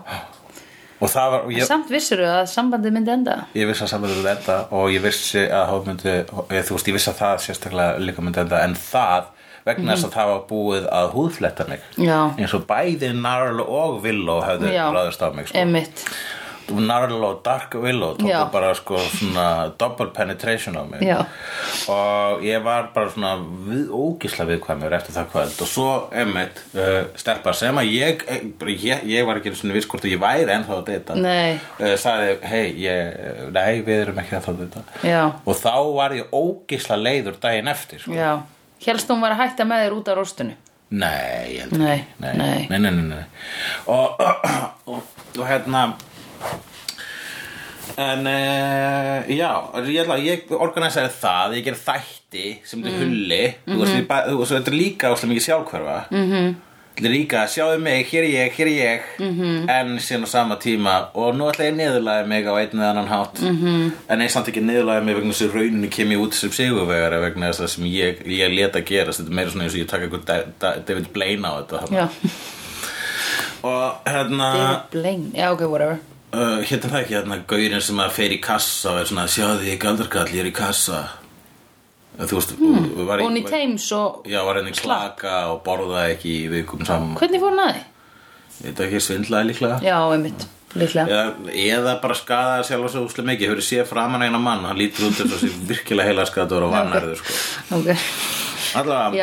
Speaker 1: og það var, og ég,
Speaker 2: samt vissirðu að sambandið myndi enda
Speaker 1: ég vissi að samverður þetta og ég vissi að það myndi ég, þú veist, ég vissi að það sérstaklega líka myndi enda en það, vegna þess að það var búið að húðfletta mig
Speaker 2: Mhm. Já.
Speaker 1: eins og bæði Narl og Villó hefðu
Speaker 2: Já.
Speaker 1: ráðist á mig sko.
Speaker 2: Einmitt,
Speaker 1: Narl og Dark Willow tóku
Speaker 2: Já.
Speaker 1: bara sko svona double penetration á mig
Speaker 2: Já.
Speaker 1: og ég var bara svona við, ógisla viðkvæmur eftir það kvöld og svo emmitt uh, stelpa sem að ég, eh, bara ég ég var ekki einu sinni viss hvort að ég væri ennþá að deyta
Speaker 2: Nei.
Speaker 1: uh, sagði hei, ég, nei við erum ekki ennþá að deyta
Speaker 2: Já.
Speaker 1: og þá var ég ógisla leiður daginn eftir sko.
Speaker 2: já Hélst hún var að hætta með þér út á róstunni
Speaker 1: Nei, ég held
Speaker 2: Nei,
Speaker 1: ekki Nei,
Speaker 2: nei.
Speaker 1: nei, nei, nei, nei. Og, og, og hérna En uh, já, ég, ætla- ég organisaði það, ég ger þætti sem þetta mm. hulli Þú veist,
Speaker 2: Mhm.
Speaker 1: ég ba- þú veist, þetta er líka óslega mikið sjálfhverfa mm -hmm. Þetta er líka, sjáðu mig, hér er ég, hér er ég
Speaker 2: Mhm.
Speaker 1: -hmm. En síðan á sama tíma Og nú ætla ég niðurlæði mig á einn eða annan hátt
Speaker 2: Mhm.
Speaker 1: -hmm. En ég samt ekki niðurlæði mig vegna þessi rauninu kem ég út sem sigurvegari Vegna þess að sem ég, ég leta gerast Þetta er meira svona eins og ég taka eitthvað Da- Da- David Blaine á þetta þarna.
Speaker 2: Já,
Speaker 1: Og hérna
Speaker 2: David Blaine Já, ok, whatever
Speaker 1: Uh, hérna það ekki, hérna gaurinn sem að fer í kassa og er svona, sjáðu ég galdarkall, ég er í kassa En Þú veist, mm. var
Speaker 2: Hún í Thames Mhm. og
Speaker 1: Já, var henni klaka og borðaði ekki í vikum saman
Speaker 2: Hvernig fór hún að þið?
Speaker 1: Þetta ekki svindlaði líklega
Speaker 2: Já, einmitt, líklega
Speaker 1: eða, eða bara skadaði sjálf svo úslega mikið Hefur séð framan eina mann, hann lítur út þess að sé virkilega heila skadaður og vannærður sko.
Speaker 2: Ok,
Speaker 1: Allavega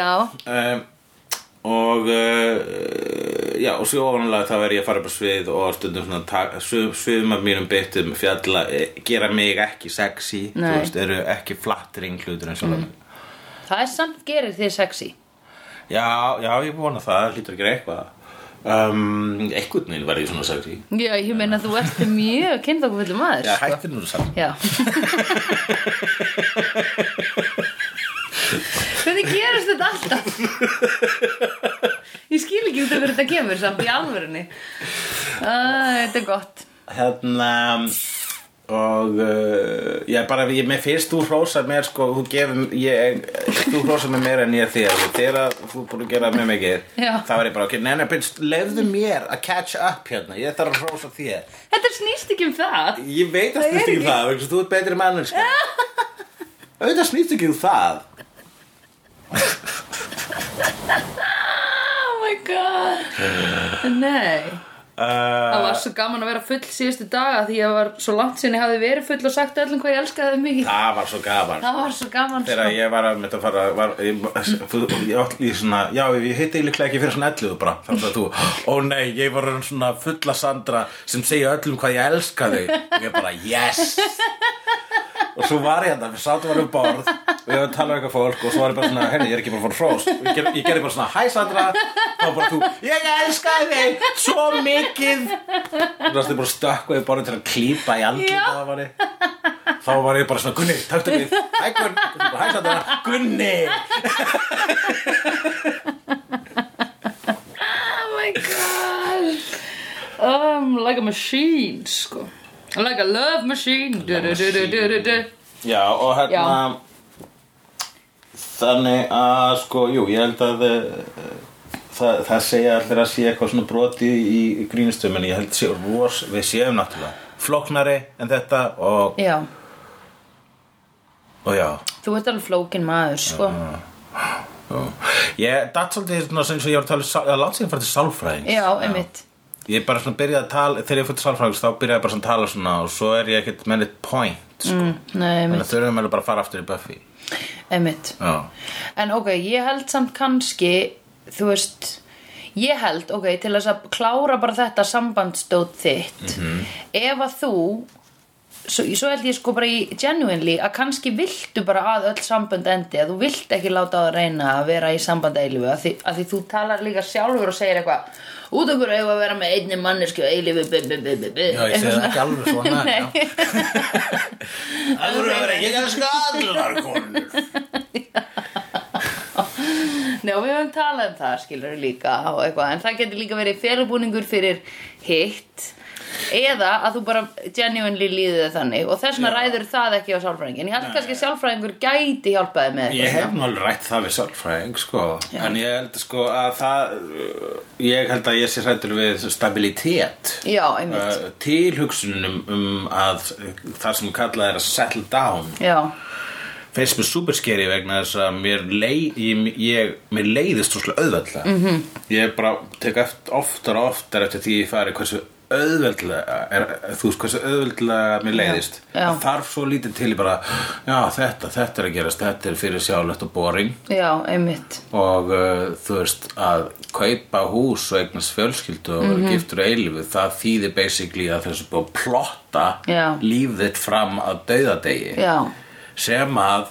Speaker 2: Já.
Speaker 1: um, Og uh, Já, og svo ofanlega þá er ég að fara upp á svið og stundum svona tak- sum- sum af mínum byttum fjalla eh, gera mig ekki sexy þú
Speaker 2: Nei.
Speaker 1: veist, eru ekki flattering hlutur eins og mm.
Speaker 2: það er samt gerir þið sexy
Speaker 1: Já, já, ég vona það, hlýtur ekki eitthvað um, Einhvern veginn var ég svona sexy
Speaker 2: Já, ég meina þú ert mjög kynþokkufullur maður
Speaker 1: Já,
Speaker 2: sko.
Speaker 1: hættir nú saman
Speaker 2: Já Hvernig gerist þetta alltaf? Ég skil ekki út af hverju þetta kemur samt í alvörunni Æ, Þetta er gott
Speaker 1: hérna og uh, ég bara, ég, mér finnst þú hrósar mér sko, þú gefur ég, þú hrósar mér meira en ég þér og þegar að þú búin að gera mér mikið
Speaker 2: Já.
Speaker 1: þá var ég bara, ok, neina, byrst, lefðu mér að catch up hérna, ég þarf að hrósa þér
Speaker 2: Þetta snýst ekki um það
Speaker 1: ég veit að
Speaker 2: Það
Speaker 1: snýst
Speaker 2: er
Speaker 1: ekki um
Speaker 2: ekki.
Speaker 1: það, vegna þess að þú ert betri mannlíska auðvitað snýst ekki um það
Speaker 2: Oh my god Nei
Speaker 1: uh,
Speaker 2: Það var svo gaman að vera full síðustu daga því ég var svo langt sinni hafði verið full og sagt öllum hvað ég elskaði þau mikið
Speaker 1: það var svo gaman
Speaker 2: Það var svo gaman
Speaker 1: Þegar ég var að mynda að fara var, ég, ég, ég, ég svona, Já, ég hitti líklega ekki fyrir svona 11 bara Þá sagði þú, ó nei, ég var orðin svona fulla Sandra sem segja öllum hvað ég elska þau Ég bara, yes Og svo var ég þetta, við sátum varum borð og ég var að tala um eitthvað fólk og svo var ég bara svona, henni, ég er ekki bara fór hrós ég, ger, ég gerði bara svona, hæ Sandra þá bara þú, ég elska þig svo mikið þú varst þið bara stökkuð í borðin til að klípa í
Speaker 2: Já.
Speaker 1: andlita var ég þá var ég bara svona, Gunni, taktu við hæ Gunni, Og svo bara, hæ Sandra, Gunni
Speaker 2: Oh my god um, Like a machine sko Like a love machine du, du, du, du, du, du, du.
Speaker 1: já, og hérna
Speaker 2: Já.
Speaker 1: þannig að sko, jú, ég held að uh, það, það segja allir að sé eitthvað svona broti í, í grínustum en ég held að sé ros, við séum náttúrulega flóknari en þetta og,
Speaker 2: Já,
Speaker 1: og já,
Speaker 2: þú ert alveg flókin maður sko
Speaker 1: Ég datt svolítið svona sem ég var að tala um sál- eða langt síðan fyrir til sálfræðing
Speaker 4: Já, einmitt
Speaker 1: Ég bara svona byrjaði að tala þegar ég fyrir til sálfræðing þá byrjaði ég bara svona að tala svona og svo er ég ekkert með neitt point sko.
Speaker 4: mm, Nei,
Speaker 1: Þannig
Speaker 4: einmitt,
Speaker 1: að þurfum alveg bara að fara aftur í Buffy
Speaker 4: einmitt
Speaker 1: Já,
Speaker 4: En ok, ég held samt kannski Þú veist Ég held, ok, til þess að klára bara þetta sambandsdót þitt
Speaker 1: Mhm.
Speaker 4: Ef að þú svo, svo held ég sko bara í genuinely að kannski viltu bara að öll sambönd endi að þú vilt ekki láta á það reyna að vera í samband eilifu að því, að því þú talar líka sjálfur og segir eitthvað út okkur eigum að vera með einni mannesku eilifu bu, bu, bu, bu, bu.
Speaker 1: já ég segi það ekki alveg svona
Speaker 4: Nei.
Speaker 1: já. Það voru að vera, ég elska allar konur
Speaker 4: Nei, og við höfum talað um það, skilur við líka og eitthvað, en það getur líka verið fyrirbúningur fyrir hitt eða að þú bara genuinely líðið þér þannig og þess vegna ræður það ekki á sálfræðingin ég held kannski að sálfræðingur gæti hjálpaði með
Speaker 1: Ég
Speaker 4: eitthvað
Speaker 1: hef nú alveg rætt það við sálfræðing sko. en ég held sko að það uh, ég held að ég sé hrættur við stabilitet
Speaker 4: svona. Já, einmitt
Speaker 1: uh, tilhugsunum um að uh, það sem kallað er að settle down
Speaker 4: Já,
Speaker 1: finnst mér super scary vegna þess að mér, lei, ég, ég, mér leiðist úrslega auðveldlega
Speaker 4: Mhm.
Speaker 1: -hmm. ég bara tek eftir, oftar og oftar eftir því ég fari hversu auðveldlega er, þú veist hversu auðveldlega mér leiðist
Speaker 4: Já.
Speaker 1: Það þarf svo lítið til ég bara já þetta, þetta er að gerast, þetta er fyrir sjálflegt og boring
Speaker 4: já, einmitt
Speaker 1: og uh, þú veist að kaupa hús og eignast fjölskyldu og
Speaker 4: Mhm.
Speaker 1: mm -hmm. giftur eilifu það þýðir basically að þessu búið að plotta
Speaker 4: Já.
Speaker 1: líf þitt fram að dauðadegi
Speaker 4: Já,
Speaker 1: sem að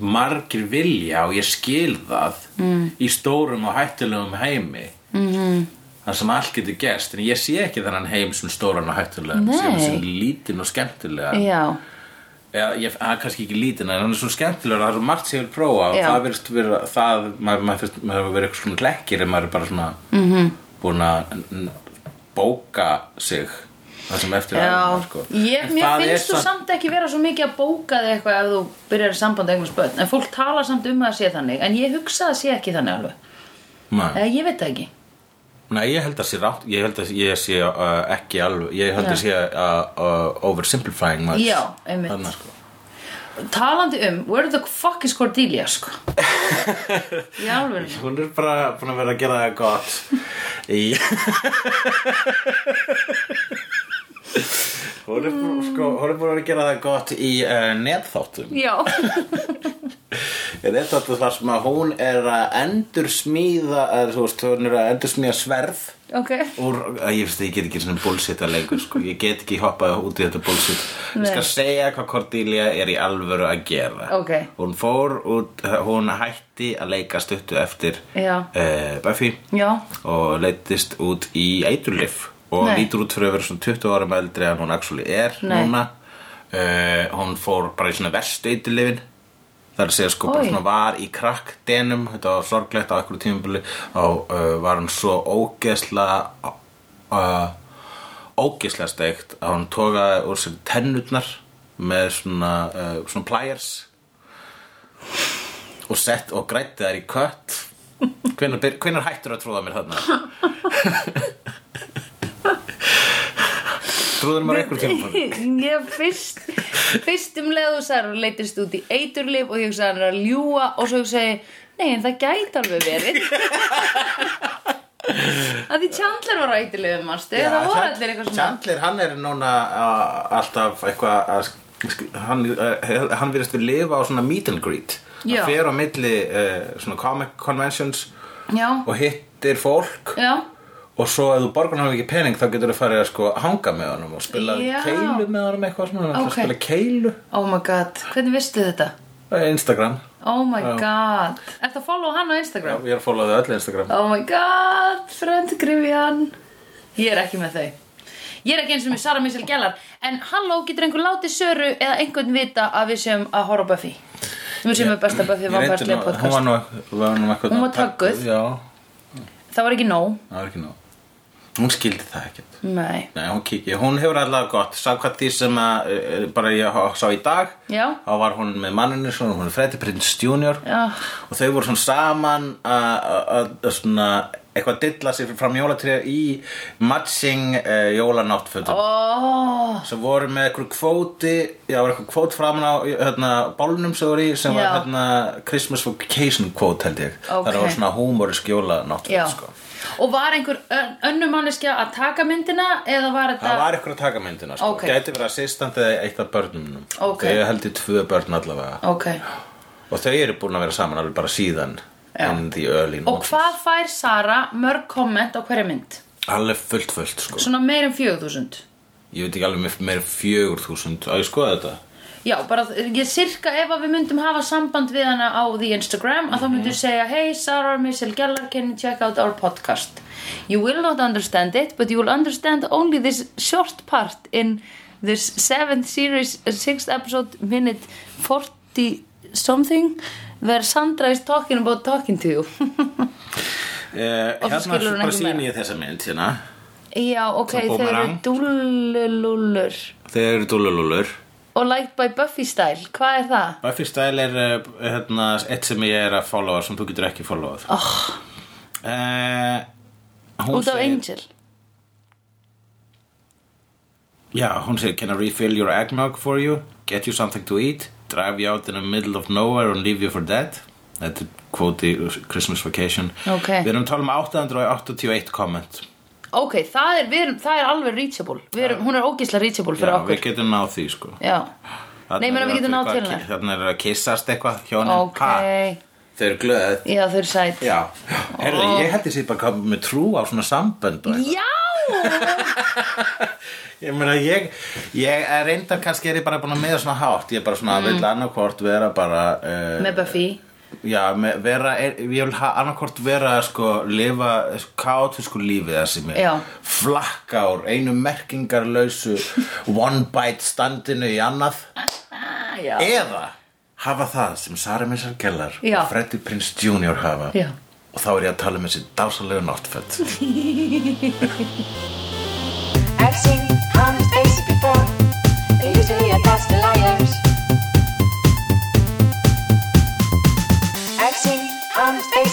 Speaker 1: margir vilja og ég skil það mm. í stórum og hættulegum heimi
Speaker 4: Mhm.
Speaker 1: -hmm. það sem allt getur gerst en ég sé ekki þennan heim sem stóran og hættulegan
Speaker 4: Nei.
Speaker 1: sem, sem lítinn og skemmtilegan
Speaker 4: já,
Speaker 1: Já, ég, það er kannski ekki lítinn en hann er svona skemmtilegur, það er svo margt sem ég vil prófa og
Speaker 4: Já.
Speaker 1: það verðist vera það maður, maður, fyrst, maður verið eitthvað svona glekkir en maður er bara svona mm
Speaker 4: Mhm.
Speaker 1: -hmm. búin að n- n- bóka sig það sem eftir er
Speaker 4: já
Speaker 1: ævinnar, sko.
Speaker 4: ég,
Speaker 1: En
Speaker 4: Mér
Speaker 1: það er
Speaker 4: finnst þú samt ekki vera svo mikið að bóka þig eitthvað ef þú byrjar í samband eitthvað spöld en fólk tala samt um að það sé þannig en ég hugsa að það sé ekki þannig alveg
Speaker 1: Nei,
Speaker 4: eða ég veit það ekki
Speaker 1: Nei, ég held að sé rátt ég held að ég sé uh, ekki alveg ég held að
Speaker 4: Já.
Speaker 1: sé uh, uh, oversimplifying much.
Speaker 4: Já, einmitt.
Speaker 1: Þarna, sko.
Speaker 4: Talandi um, where the fuck is Cordelia, sko? Í alveg.
Speaker 1: Hún er bara búin að vera að gera það gott í Hún er, bú- sko, hún er búin að vera að gera það gott í uh, netþáttum
Speaker 4: Já.
Speaker 1: Netþáttum þar sem að hún er að endur smíða þú veist, hún er að endur smíða sverð
Speaker 4: ok.
Speaker 1: Úr, að ég finnst að ég get ekki svona bullshit að leikur sko. ég get ekki hoppað út í þetta bullshit ég
Speaker 4: Nei.
Speaker 1: skal segja hvað Cordelia er í alvöru að gera
Speaker 4: Ok.
Speaker 1: hún fór út, hún hætti að leika stuttu eftir
Speaker 4: Já.
Speaker 1: eh, Buffy
Speaker 4: Já.
Speaker 1: og leittist út í eiturlif og
Speaker 4: Nei.
Speaker 1: lítur út fyrir að vera svona 20 árum eldri en hún actually er
Speaker 4: Nei.
Speaker 1: núna uh, hún fór bara í svona verstu eiturlifin það er að segja sko bara
Speaker 4: Oj.
Speaker 1: svona var í krakk denum, þetta var sorglegt á ekkur tímabili og uh, var hún svo ógeðsla uh, ógeðsla steikt að hún togaði úr sér tennutnar með svona, uh, svona pliers og sett og grætti þær í kött hvenær, byr- hvenær hættur að trúða mér þarna? trúður maður einhver tíma
Speaker 4: Ég fyrst, fyrst um leðu sær og leytist út í eiturlif og ég hugsaði hann er að ljúa og svo hugsaði, ég, nei en það gæti alveg verið. að því Chandler var á eiturlifum, manstu, það voru allir eitthvað svona.
Speaker 1: Chandler, hann er núna uh, alltaf eitthvað að sk- sk- hann, uh, hann virðist við lifa á svona meet and greet
Speaker 4: Já.
Speaker 1: hann fer á milli uh, svona comic conventions
Speaker 4: Já.
Speaker 1: og hittir fólk
Speaker 4: Já.
Speaker 1: og svo ef þú borgar hann ekki pening þá getur þú farið að sko hanga með honum og spila
Speaker 4: Já.
Speaker 1: keilu með honum eitthvað svona hann ætlar
Speaker 4: Ok.
Speaker 1: að spila keilu
Speaker 4: Oh my god, hvernig vistu þetta?
Speaker 1: Eh, Instagram
Speaker 4: Oh my god. Ertu að follow hann á Instagram?
Speaker 1: Já, ég er að fólaðu öll Instagram
Speaker 4: Oh my god, fröndgrifjan Ég er ekki með þau Ég er ekki eins og með Sara Missel Gellar En halló, getur einhver látið Söru eða einhvern vita að við séum að horfa á Buffy Við séum með besta Buffy
Speaker 1: Ég reyndi
Speaker 4: vamparslega
Speaker 1: nú- Hún
Speaker 4: podcast
Speaker 1: var nú, var nú eitthvað
Speaker 4: Hún var tagguð.
Speaker 1: Já,
Speaker 4: Það var ekki nóg
Speaker 1: það var ekki nú Hún skildi það ekkert
Speaker 4: Nei,
Speaker 1: Nei, hún kikið, hún hefur allavega gott Samkvæmt því sem að, eh, bara ég ho- sá í dag
Speaker 4: Já.
Speaker 1: Þá var hún með manninu svona, hún er Freddy Prince Jr
Speaker 4: Já.
Speaker 1: Og þau voru svona saman að- að að- að svona eitthvað dilla sér fram jólatrið í matching uh, jólanáttfötum
Speaker 4: oh,
Speaker 1: sem voru með eitthvað kvóti já, var eitthvað kvót framan á hérna, bálnum sem voru í sem var
Speaker 4: Já.
Speaker 1: hérna, Christmas Vacation kvót held ég
Speaker 4: Ok.
Speaker 1: það var svona húmórisk
Speaker 4: já
Speaker 1: jólanáttföt sko.
Speaker 4: og var einhver ön- önnur manneskja að taka myndina eða var þetta
Speaker 1: það var eitthvað að taka myndina sko.
Speaker 4: Ok.
Speaker 1: gæti verið assistant eða eitt af börnunum
Speaker 4: Ok.
Speaker 1: þau held ég tvö börn allavega
Speaker 4: ok
Speaker 1: og þau eru búin að vera saman alveg bara síðan
Speaker 4: Já.
Speaker 1: en því ölin
Speaker 4: og hvað fær Sara mörg komment á hverja mynd
Speaker 1: alveg fullt fullt sko
Speaker 4: svona meir en 4000
Speaker 1: ég veit ekki alveg með meira fjögur þúsund að ég skoða þetta
Speaker 4: já bara ég sirka ef að við myndum hafa samband við hana á the Instagram að þá myndum við segja hey Sara or Michelle Gellar can you check out our podcast you will not understand it but you will understand only this short part in this seventh series uh, sixth episode minute 40 something where Sandra is talking about talking to you
Speaker 1: eh,
Speaker 4: Og svo
Speaker 1: hérna
Speaker 4: skilur hún
Speaker 1: bara
Speaker 4: ekki
Speaker 1: sýni ég þessa mynd hérna
Speaker 4: Já, ok,
Speaker 1: Svona
Speaker 4: þeir eru
Speaker 1: boomerang.
Speaker 4: dúllulúllur
Speaker 1: þau eru dúlulúlur
Speaker 4: Og Liked by Buffy style, hvað er það?
Speaker 1: Buffy Style er eh, hérna, eitt sem ég er að followa sem þú getur ekki followað
Speaker 4: Oh,
Speaker 1: eh, hún
Speaker 4: út af
Speaker 1: segir-
Speaker 4: Angel
Speaker 1: Já, hún segir, can I refill your eggnog for you? Get you something to eat? Drive you out in the middle of nowhere and leave you for dead? Þetta er kvóti Christmas Vacation.
Speaker 4: Ok.
Speaker 1: Við erum að tala um 881 komment.
Speaker 4: Ok, það er, við erum, það er alveg reachable Við erum, Hún er ógislega reachable fyrir
Speaker 1: Já,
Speaker 4: okkur
Speaker 1: við getum náð því, sko.
Speaker 4: Já,
Speaker 1: Þarna
Speaker 4: Nei, ég
Speaker 1: eru
Speaker 4: meina, við
Speaker 1: allir
Speaker 4: getum náð
Speaker 1: eitthvað
Speaker 4: til
Speaker 1: að-
Speaker 4: hennar.
Speaker 1: Þarna er að kyssast eitthvað, hjónin.
Speaker 4: ok
Speaker 1: Ha, þau eru glöð.
Speaker 4: Já, þau eru sæt
Speaker 1: Já. Herðu, ég held ég sé bara komið með trú á svona sambönd og eitthvað.
Speaker 4: Já,
Speaker 1: Ég meina, ég, ég er reyndar kannski er ég bara búin að meða svona hátt. Ég er bara svona, mm. vill annarkvort vera bara... Uh,
Speaker 4: með Buffy
Speaker 1: Já, me- vera, er, ég vil annarkvort vera sko, lifa kaotísku lífið það sem er
Speaker 4: Já.
Speaker 1: flakka úr einu merkingarlausu one bite standinu í annað
Speaker 4: ah, Já,
Speaker 1: eða hafa það sem Sara Missar Gellar
Speaker 4: Já.
Speaker 1: og Freddy Prince Jr. hafa
Speaker 4: Já.
Speaker 1: og þá er ég að tala um þessi dásalegu náttfett
Speaker 5: I've seen honest faces before. They're usually a pass to liars.